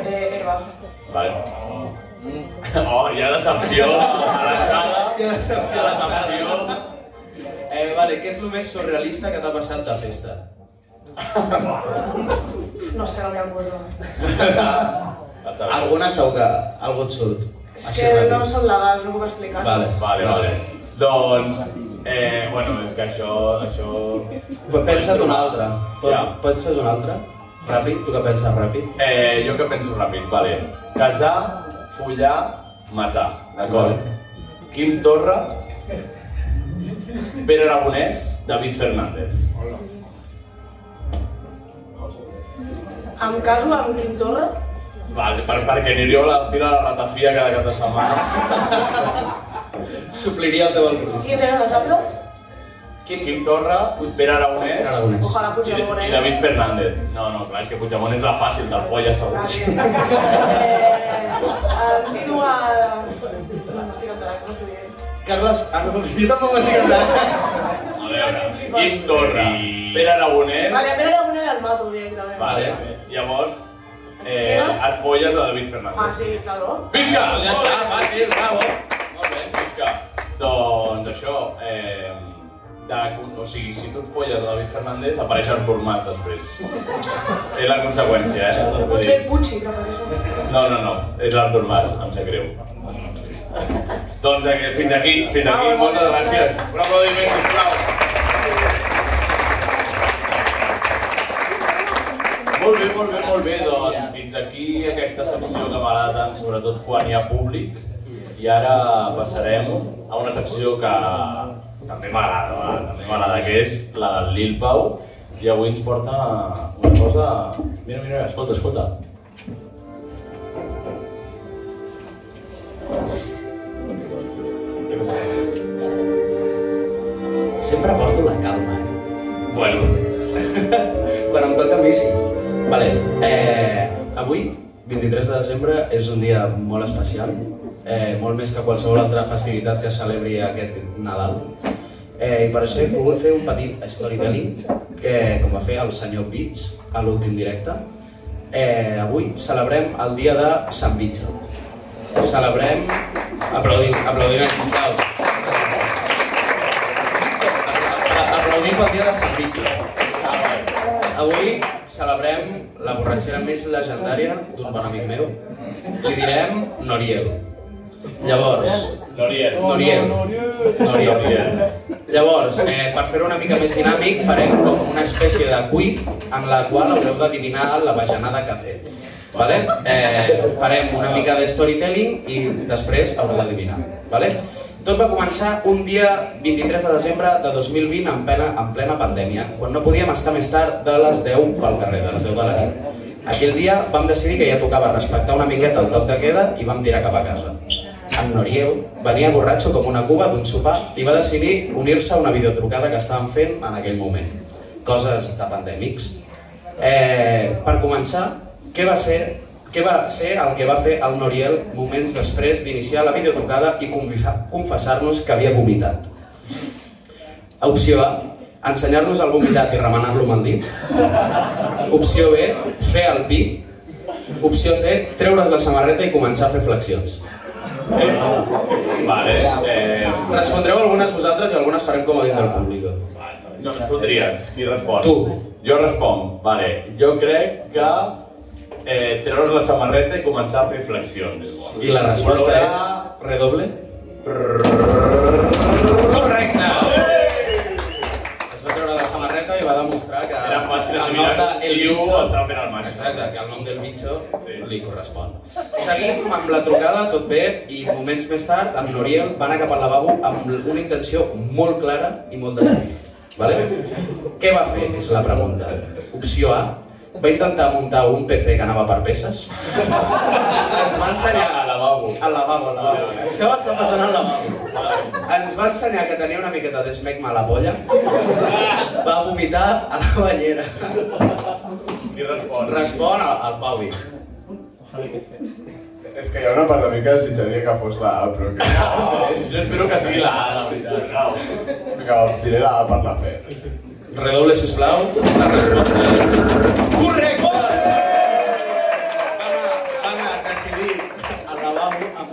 J: eh, herba.
C: Vale. Oh, hi ha decepció a la sala.
F: Hi ha decepció a la sala.
C: Decepció.
F: Eh, vale, què és el més surrealista que t'ha passat de festa?
J: No sé, no me acuerdo.
C: Està bé.
F: Alguna segur que algú et surt.
J: Es
F: Així
J: que
F: ràpid.
J: no són legals, no ho puc explicar.
F: Vale.
C: Vale, vale. Doncs, eh, bueno, és que això... això...
F: Però Pensa't un altre. Pot,
C: Ja.
F: Penses un altre? Ràpid, tu que penses ràpid.
C: Eh, jo que penso ràpid, vale. Casar, follar, matar, d'acord?
F: Vale.
C: Quim Torra, Pere Aragonès, David Fernández.
J: Em caso amb Quim Torra,
C: Vale, per, perquè aniríeu a la fila de la ratafia cada cap de setmana.
F: Supliria el teu algoritme.
J: qui eren els altres?
C: Quim Torra, Pere Aragonès,
F: Aragonès.
J: Ojalà Puigdemont,
C: i,
J: eh?
C: i David Fernández. No, no, clar, és que Puigdemont és la fàcil del folla, segur.
J: Gràcies. Eh, em tiro a... No estic entrant, no estic dient.
F: Carles, ah, no, jo tampoc m'estic entrant.
C: A veure, Quim Torra, Pere Aragonès...
J: Vale, a veure alguna el mato directament.
C: Vale. Llavors, eh,
J: Queda?
C: et folles a David Fernández.
J: Ah, sí, claro.
C: Vinga!
F: Ja està, fàcil, bravo.
C: Molt bé, Busca. Doncs això, eh, de, o sigui, si tu et folles a David Fernández, apareix Artur Mas després. és la conseqüència, eh? Vull dir,
J: Potser el Pucci, que per això.
C: No, no, no, és l'Artur Mas, em sap greu. doncs eh, fins aquí, fins aquí,
J: Bravo,
C: moltes
J: bravo.
C: gràcies. Un aplaudiment, sisplau. Molt bé, molt bé, molt bé. Doncs fins aquí aquesta secció que m'agrada tant, sobretot quan hi ha públic. I ara passarem a una secció que també m'agrada, va, també m'agrada, que és la del Lil Pau. I avui ens porta una cosa... Mira, mira, escolta, escolta.
F: Sempre porto la calma, eh?
C: Bueno,
F: Quan em toca a mi, sí. Vale, eh, avui, 23 de desembre, és un dia molt especial, eh, molt més que qualsevol altra festivitat que es celebri aquest Nadal. Eh, I per això he volgut fer un petit storytelling, eh, com va fer el senyor Pits a l'últim directe. Eh, avui celebrem el dia de Sant Bitxa. Celebrem... Aplaudim, aplaudim, sisplau. Aplaudim pel dia de Sant Bitxa. Avui celebrem la borratxera més legendària d'un bon amic meu. Li direm Noriel. Llavors,
C: Noriel.
F: Noriel. Oh, Noriel. Llavors, eh, per fer-ho una mica més dinàmic, farem com una espècie de quiz en la qual haureu d'adivinar la bajanada que ha fet. Vale? Eh, farem una mica de storytelling i després haureu d'adivinar. Vale? Tot va començar un dia 23 de desembre de 2020 en plena, en plena pandèmia, quan no podíem estar més tard de les 10 pel carrer, de les 10 de la nit. Aquell dia vam decidir que ja tocava respectar una miqueta el toc de queda i vam tirar cap a casa. En Noriel venia borratxo com una cuba d'un sopar i va decidir unir-se a una videotrucada que estàvem fent en aquell moment. Coses de pandèmics. Eh, per començar, què va ser què va ser el que va fer el Noriel moments després d'iniciar la videotrucada i confessa- confessar-nos que havia vomitat? Opció A, ensenyar-nos el vomitat i remenar-lo amb el dit. Opció B, fer el pi. Opció C, treure's la samarreta i començar a fer flexions.
C: Vale, eh,
F: Respondreu algunes vosaltres i algunes farem com a dins del públic.
C: no, tu tries, qui respon?
F: Tu.
C: Jo responc, vale, jo crec que eh, treure's la samarreta i començar a fer flexions.
F: I la resposta
C: Olor a-
F: és... Redoble? Correcte! Es va treure la samarreta i va demostrar que
C: Era fàcil
F: el nom
C: adivinar
F: de El
C: qui ho
F: Bicho-
C: estava fent al màxim.
F: Exacte, que el nom del Bicho
C: Sí.
F: li correspon. Seguim amb la trucada, tot bé, i moments més tard, amb Noriel, va anar cap al lavabo amb una intenció molt clara i molt decidit. Vale? Què va fer, és la pregunta. Opció A, va intentar muntar un PC que anava per peces. Ens va ensenyar
C: Al lavabo.
F: al lavabo, al lavabo. Això va estar passant al lavabo. Ens va ensenyar que tenia una miqueta d'esmecma a la polla. Va vomitar a la banyera.
E: Qui respon?
F: Respon al, al Pauvi.
G: És que hi ha una part de mi que desitjaria que fos la A, però que...
C: Jo espero que sigui la A, la veritat. No.
G: Vinga, va, diré la A per la fe.
F: Redoble, sisplau. La resposta és... Correcte! Va anar, va anar a decidir al lavabo amb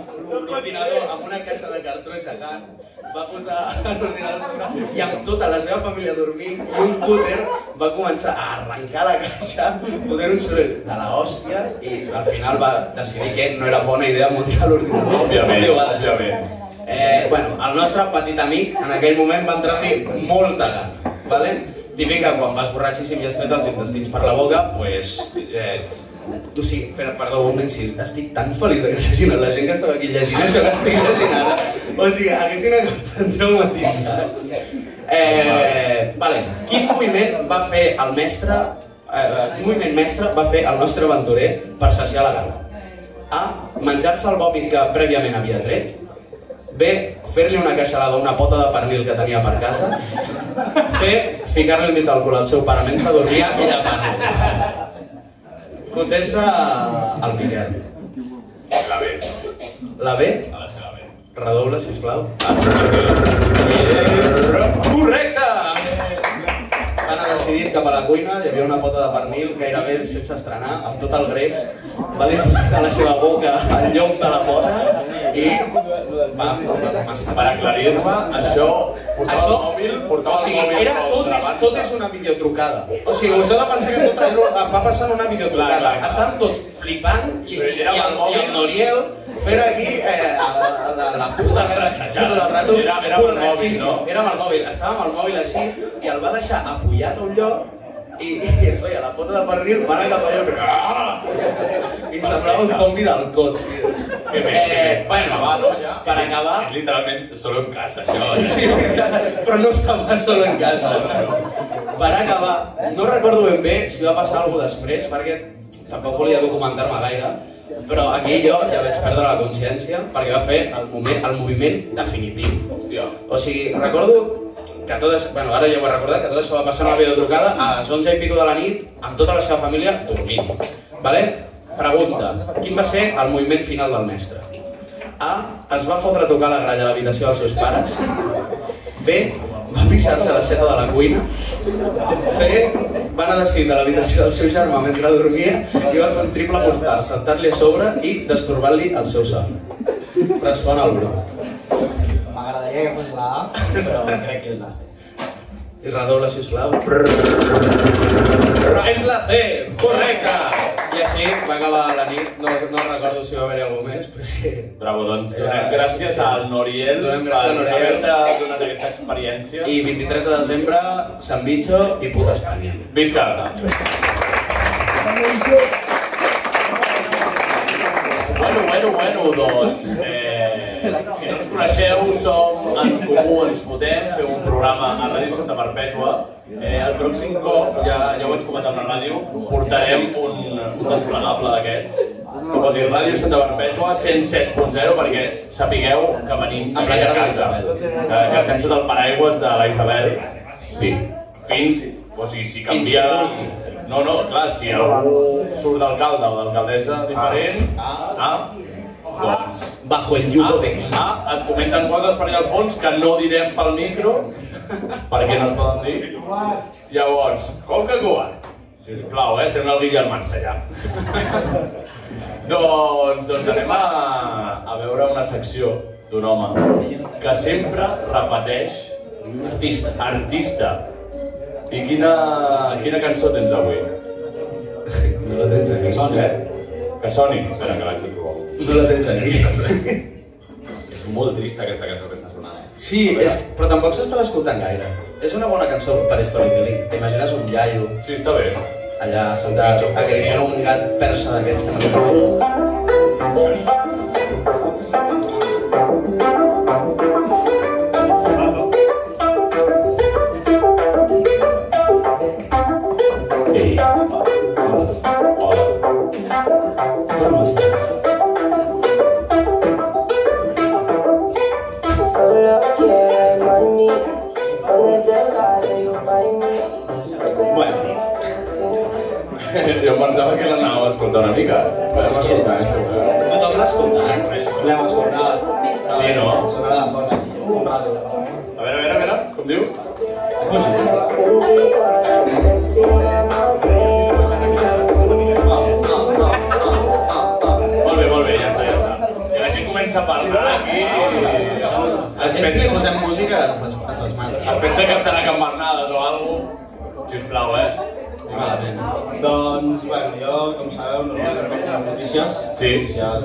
F: l'ordinador, amb una caixa de cartró gegant, va posar l'ordinador sobre i amb tota la seva família dormint i un cúter va començar a arrencar la caixa fotent un soroll de la hòstia i al final va decidir que no era bona idea muntar l'ordinador.
C: Òbviament,
F: I ho va deixar.
C: òbviament.
F: Eh, bueno, el nostre petit amic en aquell moment va entrar-li molta gana, vale? Típica, quan vas borratxíssim i has tret els intestins per la boca, pues, eh, o sigui, per, perdó, un incís, estic tan feliç de que s'hagin la gent que estava aquí llegint això que estic llegint ara. O sigui, haguessin acabat tan traumatitzats. Eh, vale, quin moviment va fer el mestre, eh, eh, quin moviment mestre va fer el nostre aventurer per saciar la gana? A. Menjar-se el vòmit que prèviament havia tret. B. Fer-li una queixalada a una pota de pernil que tenia per casa. C. Ficar-li un dit al cul al seu pare mentre dormia i llepar-lo. Contesta el Miquel.
C: La B, no?
F: La B.
C: ha de ser la B.
F: Redoble, sisplau.
C: Ah, sí, la B.
F: Correcte! Van a decidir cap a la cuina, hi havia una pota de pernil gairebé sense estrenar, amb tot el greix, va depositar la seva boca al llom de la pota i va, va començar.
C: Per aclarir-me, això... Portava
F: Això,
C: el mòbil,
F: o
C: portava
F: sigui,
C: el mòbil
F: era
C: pel
F: tot és,
C: davant.
F: tot és una videotrucada. O sigui, us heu de pensar que tot allò va passar en una videotrucada.
C: Clar, clar, clar.
F: Estàvem tots flipant i, i,
C: Però era
F: el,
C: el mòbil.
F: i el Noriel fent aquí eh, la, la, la puta merda que està tot el rato.
C: Era- era amb el mòbil,
F: borratxíssim.
C: no?
F: Era amb el mòbil, estava amb el mòbil així i el va deixar apujat a un lloc I, i es veia la pota de pernil, va anar cap allà i feia, "Ah!" i semblava un zombi del cot. tio. Eh,
K: Què més, què més? Per acabar, no, ja?
F: Per acabar,
K: És literalment solo en casa, això.
F: Sí, [laughs] però no estava sol en casa. Per acabar, no recordo ben bé si va passar alguna cosa després, perquè tampoc volia documentar-me gaire, però aquí jo ja vaig perdre la consciència perquè va fer el, moment, el moviment definitiu.
K: Hòstia.
F: O sigui, recordo que tot això, bueno, ara ja ho he recordat, que tot això va passar una videotrucada a les 11 i pico de la nit, amb tota la seva família dormint. Vale? Pregunta, quin va ser el moviment final del mestre? A. Es va fotre a tocar la gralla a l'habitació dels seus pares. B. Va pixar-se a l'aixeta de la cuina. C. Va anar a decidir de l'habitació del seu germà mentre dormia i va fer un triple mortal, saltant-li a sobre i destorbant-li el seu son. Respon al Bru.
G: M'agradaria que fos la A, però crec que és la C.
F: Y redobla si us plau. És la C, correcte! I així va acabar la nit, no, no recordo si va haver-hi algú més, però és que...
C: Bravo, doncs donem gràcies al Noriel
F: Donem
C: per
F: gràcies al Noriel.
C: haver-te donat aquesta experiència.
F: I 23 de desembre, San Bicho i puta Espanya.
C: Visca! Bueno, bueno, bueno, doncs, eh, si no ens coneixeu, som en comú, ens fotem, feu un programa a Ràdio Santa Perpètua. Eh, el pròxim cop, ja, ja ho vaig comentar amb la ràdio, portarem un, un desplegable d'aquests. Que posi Ràdio Santa Perpètua 107.0 perquè sapigueu que venim
F: Amb la cara de
C: casa, que,
F: l'Isabel.
C: que Ah, estem sota el paraigües de la Isabel. Sí. Fins, o sigui, si canvia... No, no, clar, si algú surt d'alcalde o d'alcaldessa diferent, ah, doncs...
F: Bajo el yugo de...
C: Ah, ah, es comenten coses per allà al fons que no direm pel micro, perquè no es poden dir. Llavors, com que coat? Sisplau, eh? Sembla el Guillem Mansellà. doncs, doncs anem a, a veure una secció d'un home que sempre repeteix
F: Artista.
C: artista. I quina, quina cançó tens avui?
F: No la tens
C: Que
F: aquí.
C: soni, eh? Que soni. Espera, que l'haig de trobar.
F: No la tens [laughs] aquí.
K: És molt trista aquesta cançó que està sonant. eh?
F: Sí, és, però tampoc s'estava escoltant gaire. És una bona cançó per storytelling. T'imagines un iaio
C: Sí, està bé.
F: allà sentat acariciant un gat persa d'aquests que no té mai.
C: Ei, hola, hola. Com estàs?
J: Solo quiero money. ¿Dónde está el carro? You find me.
C: Jo pensava que l'anava a escoltar una mica. eh? Però és que
F: Tothom l'escolta.
G: eh? L'hem escoltat.
C: Sí, no?
G: Sonarà de fons. Un rato.
C: A veure, a veure, a veure, com diu? Molt bé, molt bé, ja està, ja està. I la gent comença a parlar aquí. eh?
F: La
C: Es
F: gent si li
C: pensa,
F: posem música es, es, es desmanta.
C: es pensa que estan a Can Bernades o alguna cosa. Sisplau, eh?
F: Malament.
G: Doncs, bueno, jo, com sabeu, normalment recordo les notícies.
C: Sí.
G: Notícies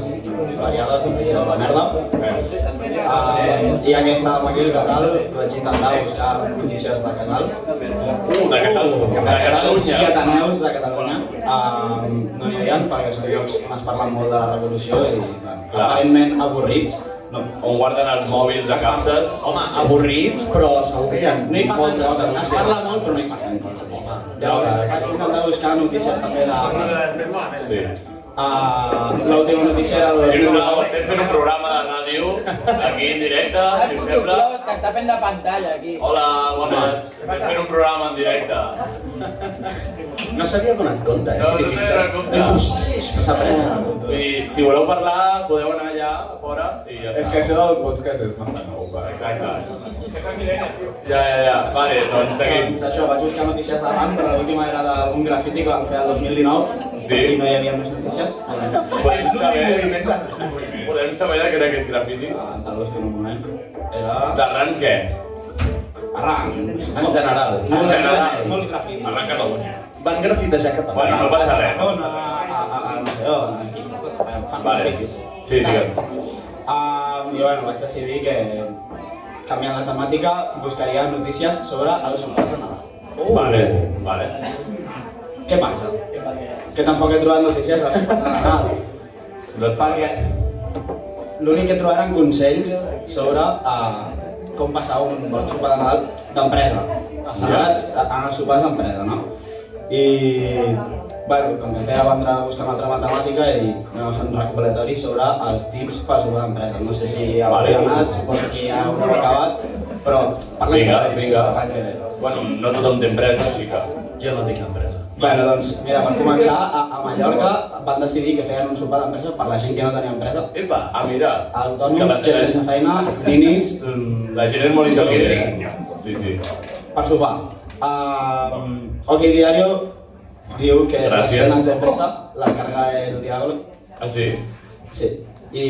G: variades, notícies de la merda. Uh, I aquesta amb aquell casal vaig intentar buscar notícies de casals.
C: Uh, de Catalunya. De Catalunya.
G: I ateneus de Catalunya. Uh, no n'hi havia perquè són llocs on es parla molt de la revolució i, bueno,
C: Clar.
G: aparentment, avorrits. No,
C: On guarden els mòbils a cases.
F: Home, avorrits, però segur que hi ha
G: No hi passen
F: moltes
G: coses, es
F: denúncies.
G: parla molt però no hi passen coses. Llavors
F: Drogues.
G: vaig intentar buscar notícies també de...
C: Sí.
G: Uh, L'última notícia era... de-
C: Sisplau, estem fent un programa de ràdio aquí en directe, si us sembla.
J: que està fent de pantalla aquí.
C: Hola, bones. Estem fent un programa en directe.
F: No s'havia adonat compte, eh,
C: No,
F: si
C: no
F: t'hi
C: m'he
F: fixes.
C: adonat compte.
F: Dic, ostres, no s'ha pres.
C: Vull dir, si voleu parlar, podeu anar allà a fora i ja està. És que això del podcast és massa nou. Exacte. Ja, ja, ja. Vale, doncs seguim.
G: Doncs això, vaig buscar notícies davant, però l'última era d'un grafiti que van fer el 2019
C: Sí.
G: i no hi havia més notícies. Uh,
C: Podem saber, podem saber de què era aquest grafiti?
G: tal vegada que en un moment era...
C: D'arran què?
G: Arran.
F: En general.
G: Molts-
C: En general.
G: Molts grafitis.
K: Parla en Catalunya.
F: Van grafitejar
C: Bueno,
F: Catalunya.
C: no passa res.
G: Barcelona, a, a, a, no sé on, aquí. Fan
C: Vale.
G: grafitis.
C: Sí, digues.
G: Um, I bueno, vaig decidir que, canviant la temàtica, buscaria notícies sobre el sopar de Nadal.
C: Vale, vale.
G: Què passa? Que tampoc he trobat notícies de Nadal.
E: Doncs per què?
G: L'únic que he trobat eren consells sobre eh, com passar un bon sopar de Nadal d'empresa. Els sagrats en els sopars d'empresa, no? I, bueno, com que em feia vendre a buscar una altra matemàtica, he dit, anem a fer un recopilatori sobre els tips per sopar d'empresa. No sé si ja
C: Vale.
G: l'heu anat, suposo que ja ho heu acabat, però parlem
C: Vinga,
G: que ve,
C: vinga.
G: parlem que ve.
C: Bueno, no tothom té empresa, així que...
F: Jo no tinc empresa.
G: Bueno, doncs, mira, per començar, a, a Mallorca van decidir que feien un sopar d'empresa per la gent que no tenia empresa.
F: Epa!
C: Ah, mira, que
G: Autònoms,
C: la,
G: gent sense feina, dinis,
C: Mm, la gent és molt intel·ligent. eh? Sí, sí.
G: per sopar. Uh, ok Diario diu que
C: Gràcies.
G: les feines d'empresa les carga el diablo.
C: Ah, sí?
G: Sí. I,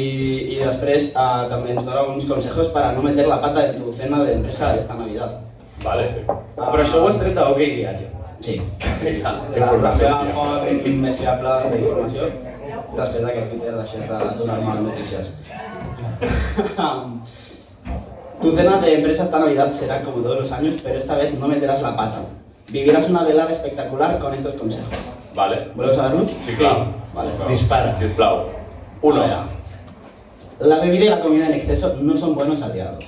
G: i després uh, també ens dona uns consejos para no meter la pata en tu cena d'empresa esta Navidad.
C: Vale.
G: Ah.
F: Però això ho has tret a OK Diario.
G: Sí. La
F: Informació.
G: seva font més fiable d'informació després de que Twitter deixés de donar males notícies. [laughs] tu cena de empresa esta Navidad será como todos los años, pero esta vez no meterás la pata. Vivirás una velada espectacular con estos consejos.
C: Vale.
G: ¿Vuelves saberlo?
C: Sí, clar. Ah,
G: Vale.
F: Dispara.
C: Sisplau.
G: Uno. La bebida y la comida en exceso no son buenos aliados.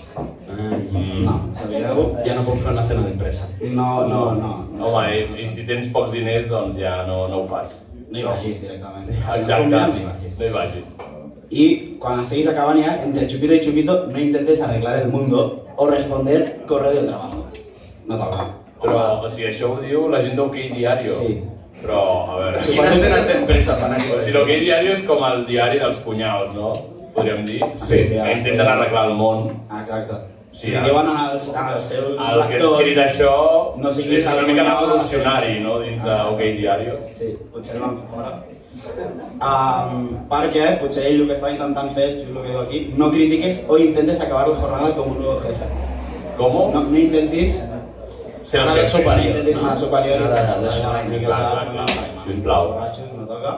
G: No, sabíeu?
F: Ja no puc fer una cena d'empresa.
G: No, no, no. no.
C: Home, eh, i, i si tens pocs diners, doncs ja no, no ho fas.
G: No hi vagis directament.
C: Exacte.
G: No hi vagis.
C: No hi vagis.
G: Y cuando estéis a cabaña, entre chupito y chupito, no intentes arreglar el mundo o responder correo del trabajo. No toca.
C: Però, o sigui, això ho diu la gent d'OK Diario.
G: Sí.
C: Però, a veure...
F: Quines cenes d'empresa fan aquí?
C: O sigui, l'OK Diario és com el diari dels punyals, no? Podríem dir.
F: Sí.
C: Que intenten arreglar el món.
G: Exacte.
C: Sí,
G: Sí, Li
C: ara-
G: diuen als, als seus
C: El que ha escrit això
G: No
C: és
G: siguis
C: una
G: el
C: mica
G: punyal.
C: revolucionari, no?, dins d'OK Diario.
G: Sí, potser no l'han fet fora. Um, perquè potser ell el que estava intentant fer, és just el que diu aquí, no critiques o intentes acabar la jornada com un nuevo jefe.
C: Com?
G: No, no intentis
C: Ser el
F: Nada
C: jefe.
F: superior, no?
G: Nada superior.
F: Nada de
C: Clar, clar, clar. Sisplau.
G: borrachos, no toca.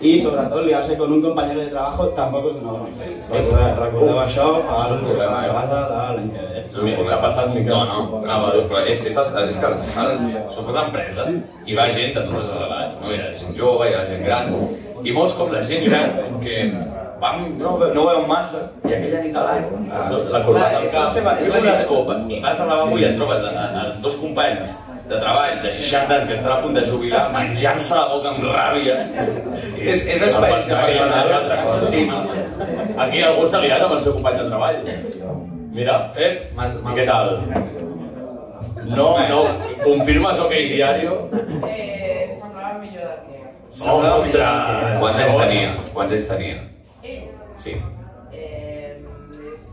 G: Y sobre todo liarse con un compañero de trabajo tampoco es una buena idea. Recordeu, recordeu això al programa de base de l'any que ve.
E: un problema.
C: T'ha passat, Miquel?
E: No, no,
C: Ah,
E: grava,
C: vale.
E: però és, és, el- és que els, els suposa empresa hi va gent de totes les edats, no? Hi ha gent jove, hi ha gent gran, i molts cops la gent gran que van, no, ve- no veuen massa, i aquella nit a Ah, l'any,
C: La corbata
F: al
E: al
F: cap.
E: cap,
F: és la
E: feu
F: nit.
E: unes copes, i vas a la bambú i et trobes a, a, a dos companys de treball de 60 anys que estan a punt de jubilar, menjant-se la boca amb ràbia. Ah,
F: És, és experiència
C: Pensava que hi havia una
F: personal.
C: altra cosa.
F: Sí.
C: Aquí algú s'ha liat amb el seu company de treball. Mira,
F: Eh, mal,
C: i
F: mal.
C: què tal? No, no, confirmes OK Diario?
L: Eh, semblava millor del que...
C: Oh, ostres!
E: Quants anys tenia? Quants anys tenia?
L: Ell,
E: Sí.
L: eh, és...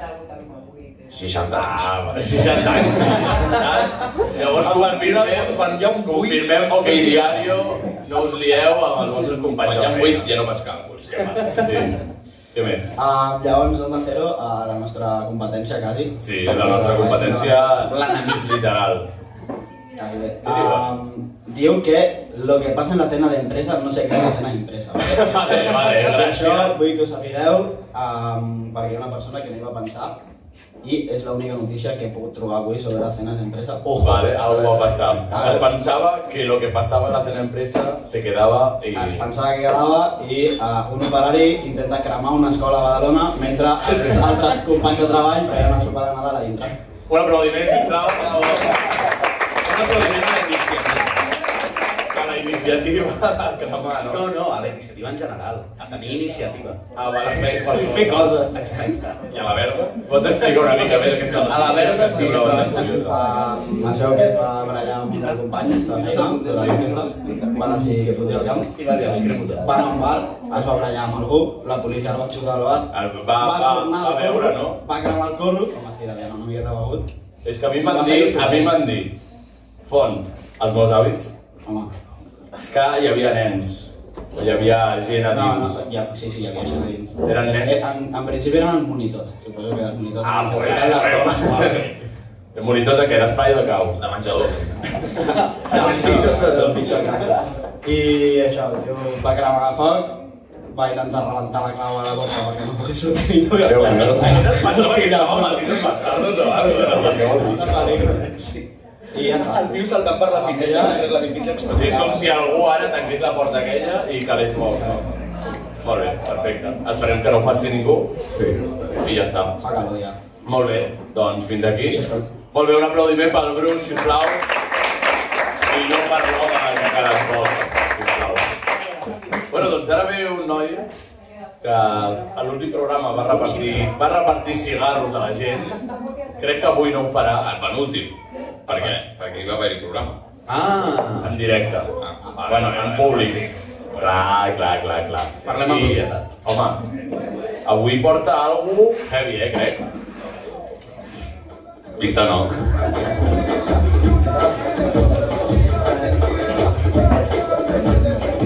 L: del 88.
E: 60 anys.
C: Ah, vale, 60 anys, 60 anys. Llavors confirmem,
F: Quan hi ha un buit,
C: confirmem OK Diario, no us lieu amb els vostres
E: Quan
C: companys
E: hi
C: de
E: ha 8
C: feina.
E: ja no faig càlculs.
C: Què passa? Sí. Què més?
G: Ah, llavors, Onda Cero, a la nostra competència, quasi.
C: Sí, la nostra competència...
F: l'enemic.
C: Literal.
G: Quasi bé. Ah, diu que lo que pasa en la cena d'empresa no sé què és la cena d'empresa. vale?
C: Vale, vale,
G: Per això
C: gràcies.
G: vull que ho sapigueu, um, perquè hi ha una persona que no hi va pensar i és l'única notícia que he pogut trobar avui sobre cenes d'empresa.
C: Ojo. Vale, algo ha pasado. Ah, Pensaba que lo que pasaba en la cena empresa se quedaba y...
G: Es pensava que quedava i uh, un operari intenta cremar una escola a Badalona mentre
C: [laughs]
G: altres, altres companys de treball feien una sopar de Nadal a dintre.
C: Un aplaudiment, sisplau.
F: Un aplaudiment a la iniciativa.
C: A la iniciativa de cremar, no?
F: No, no, a la iniciativa en general. A tenir iniciativa.
C: Ah, vale, fer qualsevol.
G: Fer coses.
F: Exacte.
E: I a la verda?
C: Pots explicar una mica més aquesta
F: A la verda, sí.
C: Una bastant curiosa.
G: Uh, això que es va barallar amb un dels companys de feina, de la festa, va decidir que fotia el camp.
F: I va dir, els cremo
G: Va
F: tots.
G: anar a un bar, es va barallar amb algú, la policia el va xutar al bar,
C: El- Va, va, va
G: tornar al corro,
C: veure, no?
G: Va cremar el corro, home, sí, devia anar una miqueta begut.
C: És que a mi m'han dit, a mi m'han dit, font, els meus avis,
G: Home,
C: que hi havia nens, o hi havia gent a
G: no, no,
C: dins.
G: ja, sí, sí, hi havia gent a dins.
C: Eren nens?
G: En, en principi eren monitors, suposo que els monitors...
C: Ah,
G: van ser
C: pues,
G: la roba.
C: El monitor de què? D'espai o de cau?
E: De menjador.
F: Els pitjors de tot.
G: I això, el tio va cremar a foc, vaig intentar rebentar la clau a la porta perquè no pogués sortir i no hi
E: Déu meu.
G: Pensava que estava
E: malditos bastardos o
G: I ja està.
F: El tio saltant per la finestra mentre l'edifici
C: Sí, és com
F: explotava.
C: si algú ara tanqués la porta aquella i calés foc. No? Molt bé, perfecte. Esperem que no ho faci ningú. Sí, I ja està.
G: Fa calor ja.
C: Molt bé, doncs fins aquí. Molt bé, un aplaudiment pel Bruce, sisplau. I no per l'home que ha quedat fort, sisplau. Bueno, doncs ara ve un noi que a l'últim programa va repartir, va repartir cigarros a la gent. Crec que avui no ho farà, el penúltim,
E: Per què? Perquè hi va haver-hi programa.
F: Ah,
C: en directe. Bueno, en públic. Clar, clar, clar, clar.
F: Parlem amb
C: I,
F: propietat.
C: Home, avui porta algú heavy, eh, crec.
E: Vista no.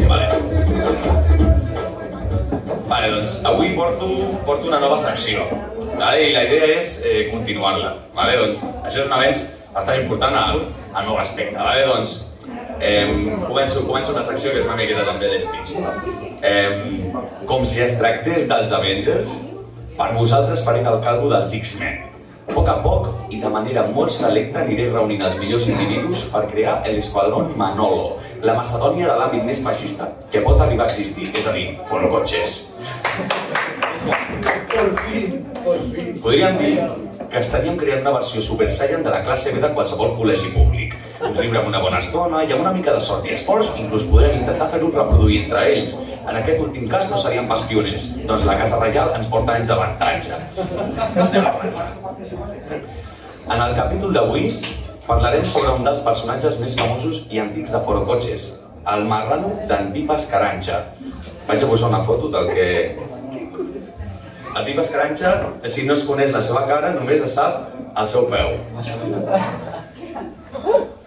E: Vale. Vale, doncs avui porto, porto una nova secció. Vale? I la idea és eh, continuar-la. Vale? Doncs això és un avenç bastant important al, al meu aspecte. Vale? Doncs eh, començo, començo una secció que és una miqueta també de speech. Eh, com si es tractés dels Avengers, per vosaltres faré el calvo dels X-Men. A poc a poc i de manera molt selecta aniré reunint els millors individus per crear l'esquadró Manolo, la Macedònia de l'àmbit més feixista que pot arribar a existir, és a dir, forocotxes. Podríem dir que estaríem creant una versió Super Saiyan de la classe B de qualsevol col·legi públic. Ens riurem una bona estona i amb una mica de sort i esforç inclús podrem intentar fer-ho reproduir entre ells. En aquest últim cas no seríem pas pioners, doncs la Casa Reial ens porta anys d'avantatge. Anem a avançar. En el capítol d'avui parlarem sobre un dels personatges més famosos i antics de Forocotxes, el marrano d'en Pipas Caranja. Vaig a posar una foto del que... El Pipas Caranja, si no es coneix la seva cara, només es sap el seu peu.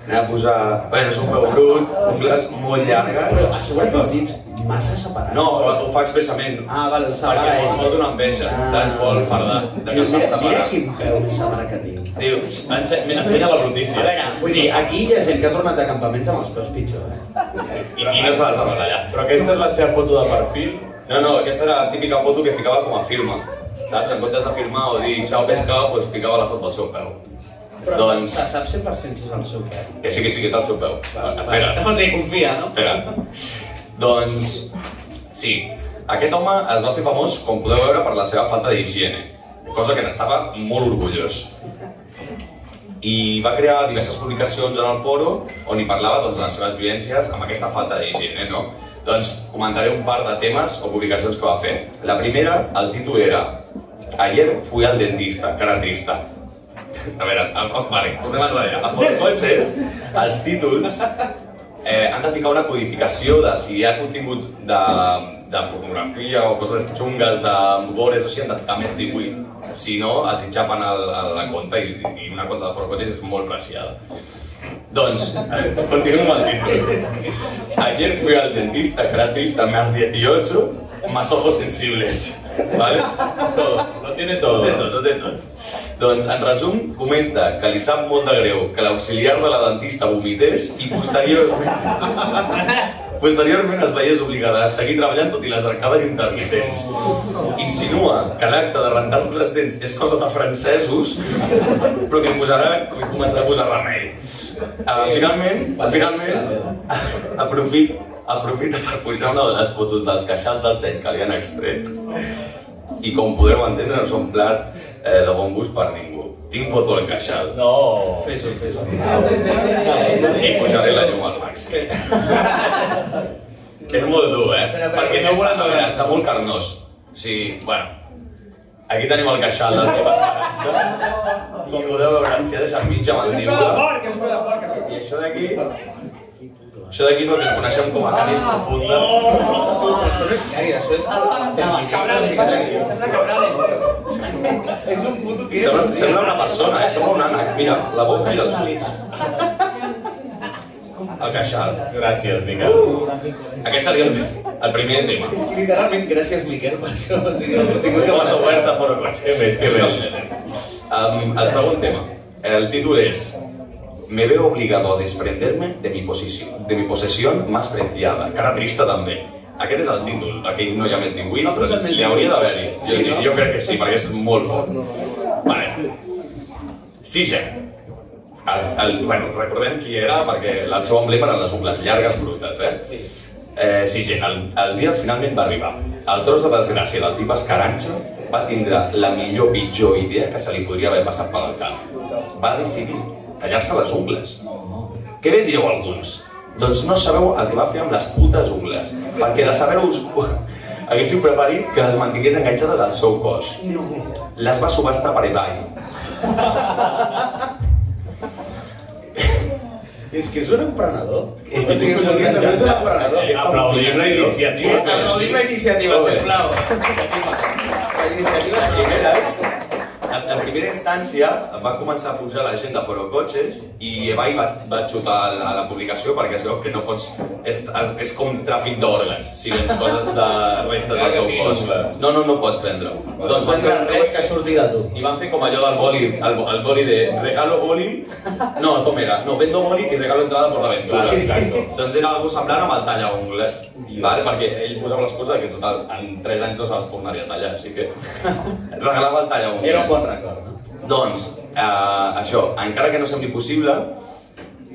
E: Anem a posar... Bé, és un peu brut, ungles molt llargues...
F: A sobre tu has dit massa separats.
E: No, ho fa expressament.
F: Ah, val, separa
E: Perquè vol,
F: ell. Ah.
E: vol donar enveja, saps? Vol fardar. De que
F: Mira,
E: se'n separa.
F: mira quin peu més separa que tinc.
E: Diu, ensenya, mira, ensenya la brutícia.
F: A veure, vull dir, aquí hi ha gent que ha tornat de campaments amb els peus pitjor, eh?
E: I, i no se les ha retallat.
H: Però aquesta és la seva foto de perfil.
E: No, no, aquesta era la típica foto que ficava com a firma. Saps? En comptes de firmar o dir xau pesca, doncs ficava la foto al seu peu.
F: Però
E: Doncs-
F: se sap 100% si és el seu peu.
E: Que sí que sí que és al seu peu. Espera,
F: O sigui, confia, no?
E: espera. Doncs, sí, aquest home es va fer famós, com podeu veure, per la seva falta d'higiene, cosa que n'estava molt orgullós. I va crear diverses publicacions en el foro on hi parlava doncs, de les seves vivències amb aquesta falta d'higiene, no? Doncs comentaré un par de temes o publicacions que va fer. La primera, el títol era Ayer fui al dentista, cara trista. A veure, a, a, vale, tornem enrere. A Forcotxes, els títols eh, han de ficar una codificació de si hi ha contingut de, de pornografia o coses xungues, de gores, o sigui, han de ficar més 18. Si no, els hi xapen el, el, la conta i, i una conta de Forcotxes és molt preciada. Doncs, continuo amb el títol. Ayer fui al dentista, cara trista, más 18, más ojos sensibles. ¿Vale? Todo.
H: Lo tiene
E: No
H: todo.
E: té tot, no té tot. Doncs, en resum, comenta que li sap molt de greu que l'auxiliar de la dentista vomités i posteriorment... posteriorment es veiés obligada a seguir treballant tot i les arcades intermitents. Insinua que l'acte de rentar-se les dents és cosa de francesos, però que hi posarà, hi començarà a posar remei. Uh, finalment,
F: eh?
E: finalment, aprofit, aprofita per pujar una de les fotos dels queixals del set que li han extret i com podreu entendre no és un plat eh, de bon gust per ningú. Tinc foto al queixal
H: No.
F: Fes-ho, fes-ho.
E: i posaré la llum al màxim. és molt dur, eh?
F: Però, però,
E: Perquè
F: no
E: no
F: volem
E: volem veure, està molt carnós. O sigui, bueno, aquí tenim el queixal del que passa. Com podeu veure, s'hi ha deixat mitja mandíbula. I això d'aquí... Això d'aquí és el que coneixem com a canis profunda.
F: Tu, però això no és cari, això és... És un puto que és...
E: Sembla, sembla una persona, eh? Sembla un ànec. Mira, la boca i els ulls. El queixal.
H: Gràcies, Miquel.
F: Uh!
E: Aquest seria el, el primer tema.
F: És que literalment, gràcies, Miquel, per això. O sigui, no tinc que
E: Porta
F: mereixer.
E: oberta fora cotxe. Què més, què més? Um, el segon tema. El títol és Me veo obligado a desprenderme de mi, posició, de mi posesión más preciada. Cara trista també. Aquest és el títol, aquí no hi ha més ningú,
F: No ha
E: però
F: posat més
E: hi hauria
F: ningú.
E: d'haver-hi.
F: Sí,
E: jo,
F: no?
E: jo crec que sí, perquè és molt fort. Vale. Sisè. El, el, bueno, recordem qui era, perquè el seu emblema eren les ungles llargues brutes, eh? Sí. Eh, sisè, el, el dia finalment va arribar. El tros de desgràcia del Pipes Caranxa va tindre la millor pitjor idea que se li podria haver passat pel cap. Va decidir tallar-se les ungles. Què bé direu alguns? Doncs no sabeu el que va fer amb les putes ungles, perquè de saber-ho-us [laughs] haguéssiu preferit que les mantingués enganxades al seu cos. No. Les va subhastar per eBay.
F: És que és un emprenedor. És
E: És
F: que
E: que
F: és un emprenedor. És un emprenedor.
C: Aplaudim la iniciativa.
F: Aplaudim la iniciativa,
E: Molt bé.
F: sisplau. La iniciativa és primera.
E: primeres, en, en primera instància va començar a pujar la gent de Forocoches i Ebay va, va xutar la, la publicació perquè es veu que no pots... És, és, és com tràfic d'òrgans, si vens coses de restes del teu cos. No, no, no pots vendre-ho.
F: Doncs
E: van
F: vendre
E: fer-
F: res que surti de tu.
E: i van fer com allò del boli, el, bo- el boli de regalo boli, no, com era? No, vendo boli i regalo entrada por la ventura.
F: Sí.
E: Doncs era algo semblant amb el talla ungles, vale? perquè ell posava l'excusa que total, en 3 anys no se les tornaria a tallar, així que regalava el talla ungles.
F: Era un bon record, no?
E: Doncs, eh, això, encara que no sembli possible,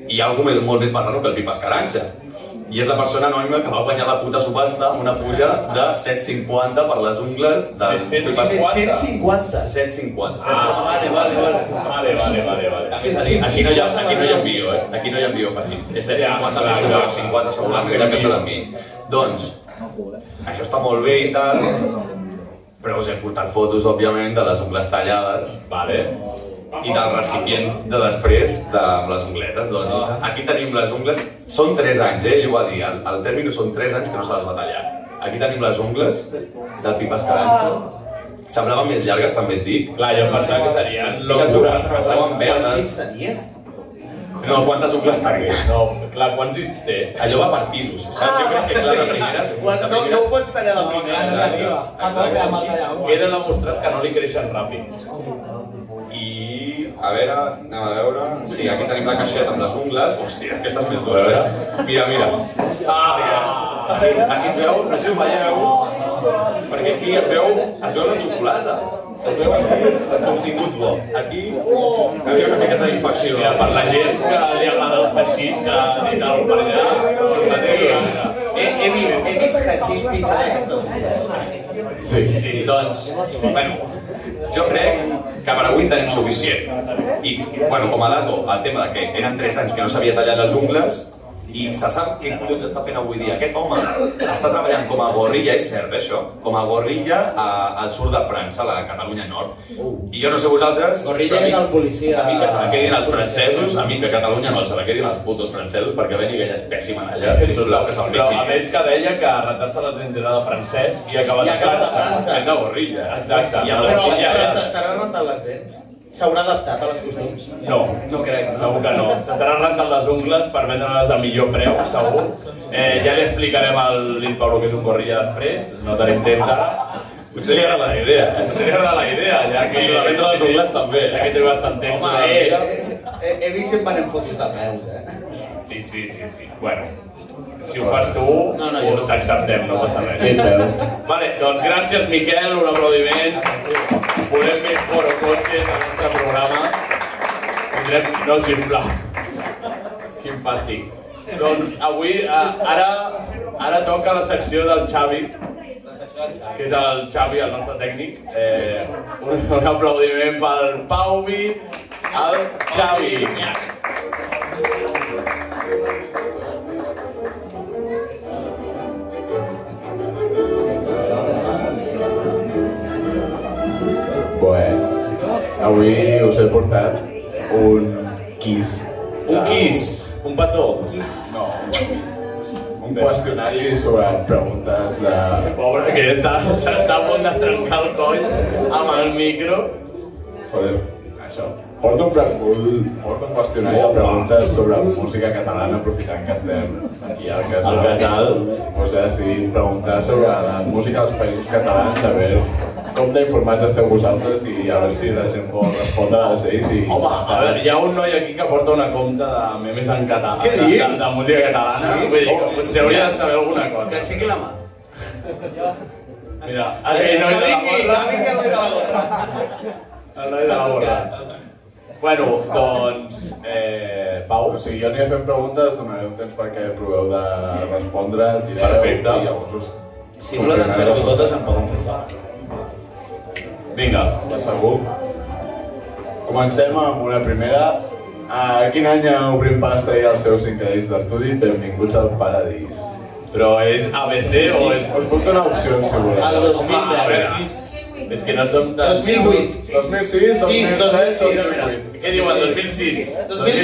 E: hi ha algú més- molt més marrano que el Pipa Escaranxa. I és la persona anònima que va guanyar la puta subhasta amb una puja de 7,50 per les ungles del Pipa
C: 750.
F: 150.
E: 7,50.
F: Ah, vale, vale, vale.
C: Vale, vale, vale, vale.
E: Aquí, aquí, aquí, no hi ha, aquí no hi ha envio, eh? Aquí no hi ha envio fàcil. És el
C: Ja,
E: 50
C: clar,
E: més
C: clar.
E: 50 segurament de que te l'enviï. Doncs, això està molt bé i tal, però us he portat fotos, òbviament, de les ungles tallades
C: Vale.
E: i del recipient de després de, amb les ungletes. Doncs aquí tenim les ungles, són 3 anys, eh? Ell ho va dir, el, el término són 3 anys que no se les va tallar. Aquí tenim les ungles del Pipa Escaranxa. Semblaven més llargues, també et dic.
C: Clar, jo em pensava que serien
E: Sí que es veuen,
C: locura.
E: però es veuen
F: Quants
E: verdes.
F: dits tenia?
E: No, quantes ungles tenia?
C: No, clar, quants dits té?
E: Allò va per pisos, saps? Jo crec que clar, de primeres... de
F: Ah, No, no ho
E: primeres-
F: pots tallar de primera.
E: Exacte, exacte.
C: Queda demostrat que no li creixen ràpid.
E: I, a veure, anem a veure... Sí, aquí tenim la caixeta amb les ungles. Hòstia, aquesta és més dura, a veure. Mira, mira. Ah, aquí, es- aquí es veu, no sé si ho veieu, perquè aquí es veu, es veu la xocolata. Es veu aquí el contingut bo. Aquí hi havia una miqueta d'infecció.
C: Mira, per la gent que li agrada el haixís, que i tal, per allà, xocolateria.
F: He, he vist, he vist hachís pizza d'aquestes fulles.
E: Sí, doncs, bueno, jo crec que per avui en tenim suficient. I, bueno, com a dato, el tema de que eren 3 anys que no s'havia tallat les ungles, i se sap què collons està fent avui dia. Aquest home està treballant com a gorrilla, és cert, eh, això? Com a gorrilla a, al sud de França, a la Catalunya Nord. I jo no sé vosaltres...
F: Gorrilla
E: però a mi-
F: és el policia-
E: Uh. A mi que se la quedin els francesos, a mi que a Catalunya no se la quedin els putos francesos, perquè veni aquella espècima allà, sisplau, que se'l
C: Però a
E: vegi.
C: més que deia que rentar-se les dents era de francès i acabar
F: I
C: de
F: acaba de
C: França.
E: Fent de gorrilla. eh?
C: Exacte.
E: I amb les
F: Però,
E: ungles
F: però
E: llargues.
F: s'estarà rentant les dents? S'haurà adaptat a les costums?
C: No.
F: No crec.
C: Segur que no. S'estaran rentant les ungles per vendre-les a millor preu, segur. Eh, ja li explicarem al Lil Pablo que és un gorrilla després, no tenim temps ara.
E: Potser li agrada la idea, eh?
C: Potser li agrada la idea, ja que...
E: I la venda de les ungles també.
C: Ja que té bastant temps.
F: Home,
C: durant-
F: eh, he, he vist si em van en fotos de peus, eh?
C: Sí, sí, sí, sí. Bueno, si ho fas tu,
F: No, no, jo no.
C: t'acceptem, no passa res. Vale, doncs gràcies, Miquel, un aplaudiment. Volem més Foro Cotxes al nostre programa. Tindrem... No, sisplau. Quin fàstic. Doncs avui, eh, ara, ara toca la secció del Xavi, que és el Xavi, el nostre tècnic. Eh, un, un aplaudiment pel Pauvi, el Xavi.
M: Bueno, avui us he portat un quiz.
C: Un kiss, un petó.
M: Un qüestionari sobre preguntes de...
C: Pobre, que està- s'està a punt de trencar el coll amb el micro.
M: Joder, això. Porto un, pre... un- porto un qüestionari de preguntes sobre música catalana, aprofitant que estem aquí al casal.
C: Al casal.
M: Us he decidit preguntar sobre la música dels països catalans, a veure com d'informats esteu vosaltres i a veure si la gent pot respondre a les lleis i...
C: Home, a veure, hi ha un noi aquí que porta una compta de memes en català,
F: Què
C: de, de,
F: dius?
C: de música catalana,
F: Sí?
C: vull dir que potser hauria de saber alguna
F: Que
C: cosa.
F: aixequi la mà.
C: Mira, el rei noi de la gorra. El noi de la gorra. Bueno, doncs... Eh, Pau?
N: O sigui, jo aniré fent preguntes, donaré un temps perquè proveu de respondre, direu,
C: Perfecte.
N: i llavors us...
F: Si no les encerto totes em poden fer fora.
N: Vinga, està segur. Comencem amb una primera. A quin any obrim pasta i els seus cinc anys d'estudi? Benvinguts al paradís.
C: Però és ABC o és...
N: Us puc donar opcions, si voleu.
F: Al 2010.
C: a veure. Ah, És que no som tan...
F: 2008.
N: 2006,
F: 6, 2006.
N: 2007, 2008.
C: Què diuen? 2006?
F: 2006.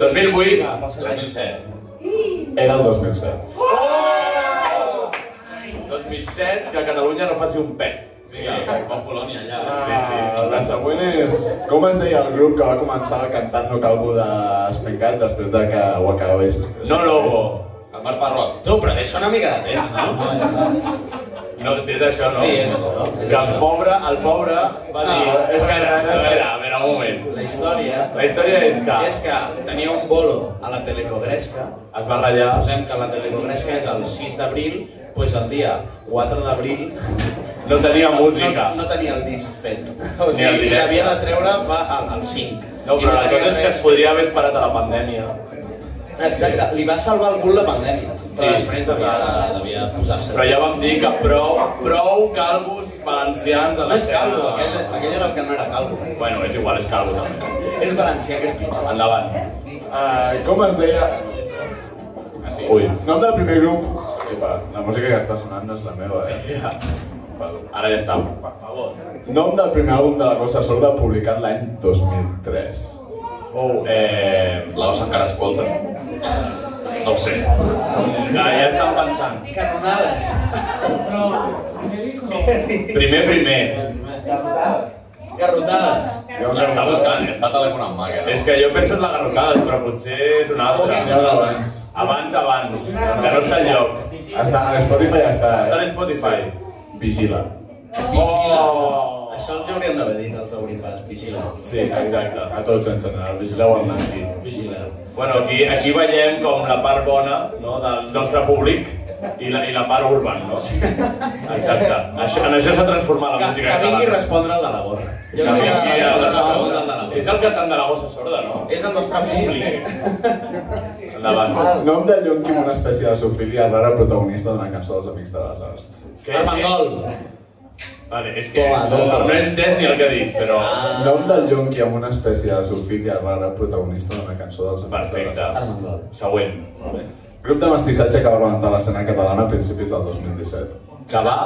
C: 2008?
E: 2007.
N: Era el 2007.
C: 2007, que Catalunya no faci un pet. Ah,
E: Vinga, com Polònia, allà.
C: Sí, sí.
N: Ah, La següent és... Com es deia el grup que va començar cantant No Calvo d'Espencat després de que ho acabés?
C: No lobo.
E: El Marc Parrot.
F: Tu, però deixa una mica de temps, no?
C: No, si és això, no.
F: Sí, és això,
C: que el
F: és això. Ah,
C: pobre, el pobre va dir...
F: No,
C: és que, a veure, a veure, un moment.
F: La història
C: La història és que
F: és que tenia un bolo a la Telecogresca.
C: Es va ratllar.
F: Posem que la Telecogresca és el 6 d'abril, doncs el dia 4 d'abril
C: no tenia
F: no,
C: música.
F: no tenia el disc fet. O
C: Ni el
F: sigui,
C: directe.
F: l'havia de treure fa al, al 5.
C: No,
F: I
C: però la
F: tenia
C: cosa és que
F: res
C: es podria haver esperat a la pandèmia.
F: fet. Exacte, li va salvar el cul la pandèmia. Però
C: Sí.
F: després devia, devia posar-se.
C: Però ja vam dir que prou, prou calvos valencians a la
F: No és calvo,
C: escena.
F: aquell, aquell era el que no era calvo.
C: Bueno, és igual, és calvo també.
F: És valencià, que és pitjor.
C: Endavant.
N: Ah, com es deia...
C: Ui,
N: Nom del primer grup... Epa, la música que està sonant no és la meva, eh? Val.
C: ara ja està. Per favor.
N: Nom del primer àlbum de la Rosa Sorda publicat l'any 2003.
C: Oh, eh...
E: La Osa encara escolta. No ho sé.
C: Ja, ja estan pensant.
F: Canonades.
C: Primer, primer.
F: Garrotades.
N: Jo
E: La està buscant, està telèfon en mà, que no?
C: És que jo penso en la garrocada, però potser és una altra.
N: Ja era abans.
C: Abans, abans. Que no està enlloc.
N: Està, a Spotify està,
C: Està en
N: eh?
C: Spotify.
N: Vigila.
C: Oh!
F: Això els haurien d'haver dit, els hauríem pas. Vigila.
C: Sí, exacte.
N: A tots en general, vigileu el Nasti.
F: Vigileu.
C: Bueno, aquí, aquí veiem com la part bona no, del nostre públic i la, i la part urbana, no? Exacte. Això, en això s'ha transformat
F: Que,
C: la música
F: que vingui a
C: catalana.
F: respondre el de la gorra. Jo
C: Que
F: crec que ha de
C: vingui a
F: respondre la pregunta
C: respondre.
F: el de la gorra.
C: És el cantant de la bossa sorda, no?
F: És el nostre públic.
C: Endavant.
N: Nom de Llonquim, una espècie de sofília rara protagonista d'una cançó dels Amics de les Arts.
C: Què?
F: Armengol.
C: Vale, és que
F: Toma, toma, Ah. toma.
C: no he entès ni el que ha dit, però...
N: Nom del Llonqui amb una espècie de sofília rara protagonista d'una cançó dels Amics de les
C: Perfecte.
N: Arts.
F: Armengol.
C: Següent.
N: Grup de mestissatge que va rebentar l'escena catalana a principis del 2017.
C: Que va?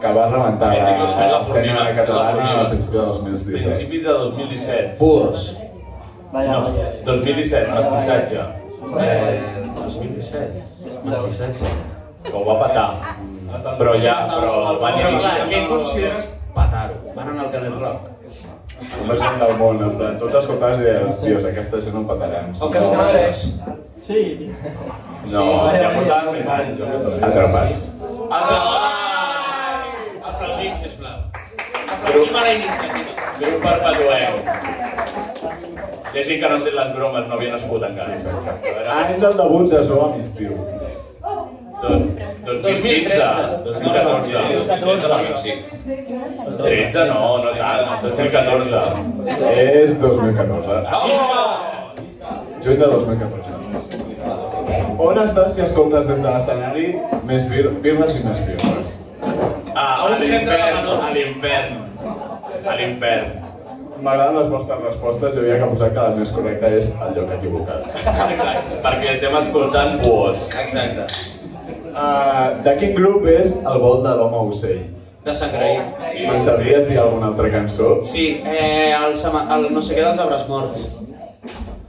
N: Que va
F: Ah.
N: rebentar
E: Pensi que és la
N: l'escena
E: formiga, la
N: catalana
E: formiga.
N: a principis del 2017.
C: Principis de 2017.
F: Puos.
C: No, 2017, mestissatge.
F: Eh, 2017. Mestissatge.
C: Que ho va petar. Però ja, però el va
F: Però clar, què
C: dirigir.
F: consideres petar-ho? Van anar al carrer Roc.
N: La gent del món, en plan, tots escoltaves i deies, dios, aquesta gent no petaran.
F: O que es coneixés.
N: No,
C: Ja portaven més anys, jo crec.
N: atrapats.
F: Endavant! Aplaudim, sisplau.
C: Grup,
F: la iniciativa.
C: grup perpetueu. Hi ha gent que no entén les bromes, no havia nascut encara.
N: Exacte. Any del debut de Zoo amb estiu.
C: Do- 2015,
F: 2013.
C: 2014.
E: 2013 perquè sí.
C: 13 no, no tant, 2014.
N: És 2014.
C: Oh!
N: Juny de 2014. On estàs si escoltes des de l'escenari més vir birres i més birres?
C: Ah,
F: A un
C: a
F: centre de
C: l'infern,
F: menors.
C: a l'infern. A l'infern.
N: M'agraden les vostres respostes i havia que posar que la més correcta és el lloc equivocat.
C: Exacte, Perquè estem escoltant Buos.
F: Exacte.
N: Uh, de quin grup és el vol de l'home ocell?
F: Desengraït.
N: Me'n sabries dir alguna altra cançó?
F: Sí, eh, el, sama- el no sé què dels arbres morts.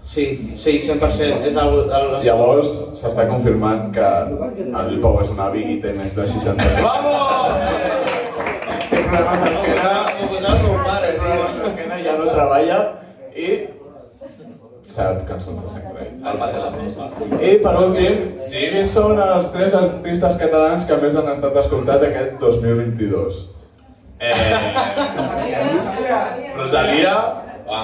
F: Sí, sí, 100%. És el, el, el
N: Llavors, s'està confirmant que el Pau és un avi i té més de 60 anys.
F: Vamos!
N: Té problemes d'esquena,
F: Ho posava el meu pare, tio.
N: l'esquena ja no treballa i sap cançons de sang
E: El Pat de la Presta.
N: I per últim,
C: Sí.
N: quins són els tres artistes catalans que més han estat escoltats aquest 2022?
C: Eh, Rosalia,
E: Va.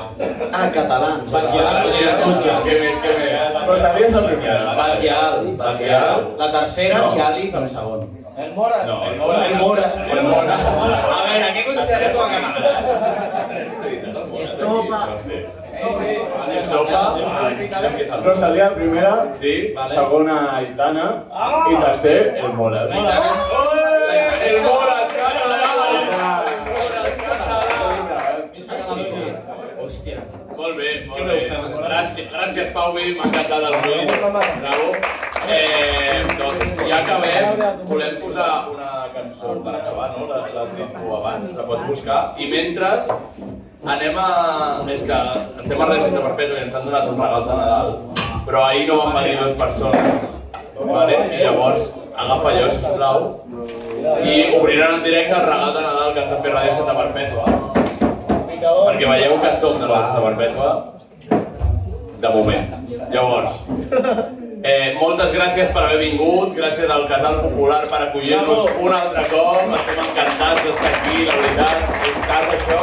F: Ah, catalans.
C: Rosalia, què més, què més?
N: Però sabies la primera.
F: Batial, Batial. La tercera i Àlic el segon.
O: El Mora.
F: No, el Mora. El Mora. El Mora. A veure, què considerem com a
N: Estopa. Ah,
C: Ah,
H: Estopa.
N: Rosalia, primera. Sí. Segona, Aitana.
C: Ah.
N: I tercer, el Mora. Ah!
F: El Mora, Ah,
C: Hòstia. Molt bé, molt bé. Gràcies, gràcies Pau, bé, m'ha encantat el quiz. Bravo. Eh, doncs ja acabem. Volem posar una cançó per acabar, no? La- L'has dit tu abans, la pots buscar. I mentre anem a... És que estem a res de perfecte i ens han donat un regal de Nadal. Però ahir no van venir dues persones. Vale? I llavors agafa allò, sisplau. I obriran en directe el regal de Nadal que ens ha fet Radio Santa Perpètua. Perquè veieu que som de la Santa Perpètua, de moment. Llavors, eh, moltes gràcies per haver vingut, gràcies al Casal Popular per acollir-nos un altre cop, estem encantats d'estar aquí, la veritat, és casa això.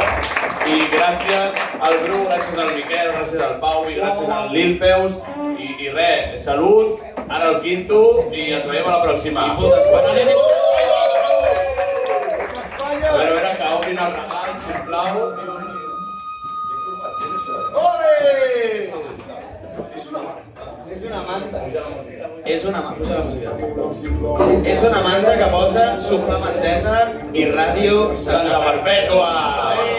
C: I gràcies al Bru, gràcies al Miquel, gràcies al Pau i gràcies al Lil Peus. I, i res, salut, ara el quinto i ens veiem a la pròxima. I puta Espanya! A veure, a veure, que obrin el regal, sisplau.
F: Ole! És una manta. És una manta. Posa la música. És una manta que posa su flamentetes i ràdio Santa Perpètua.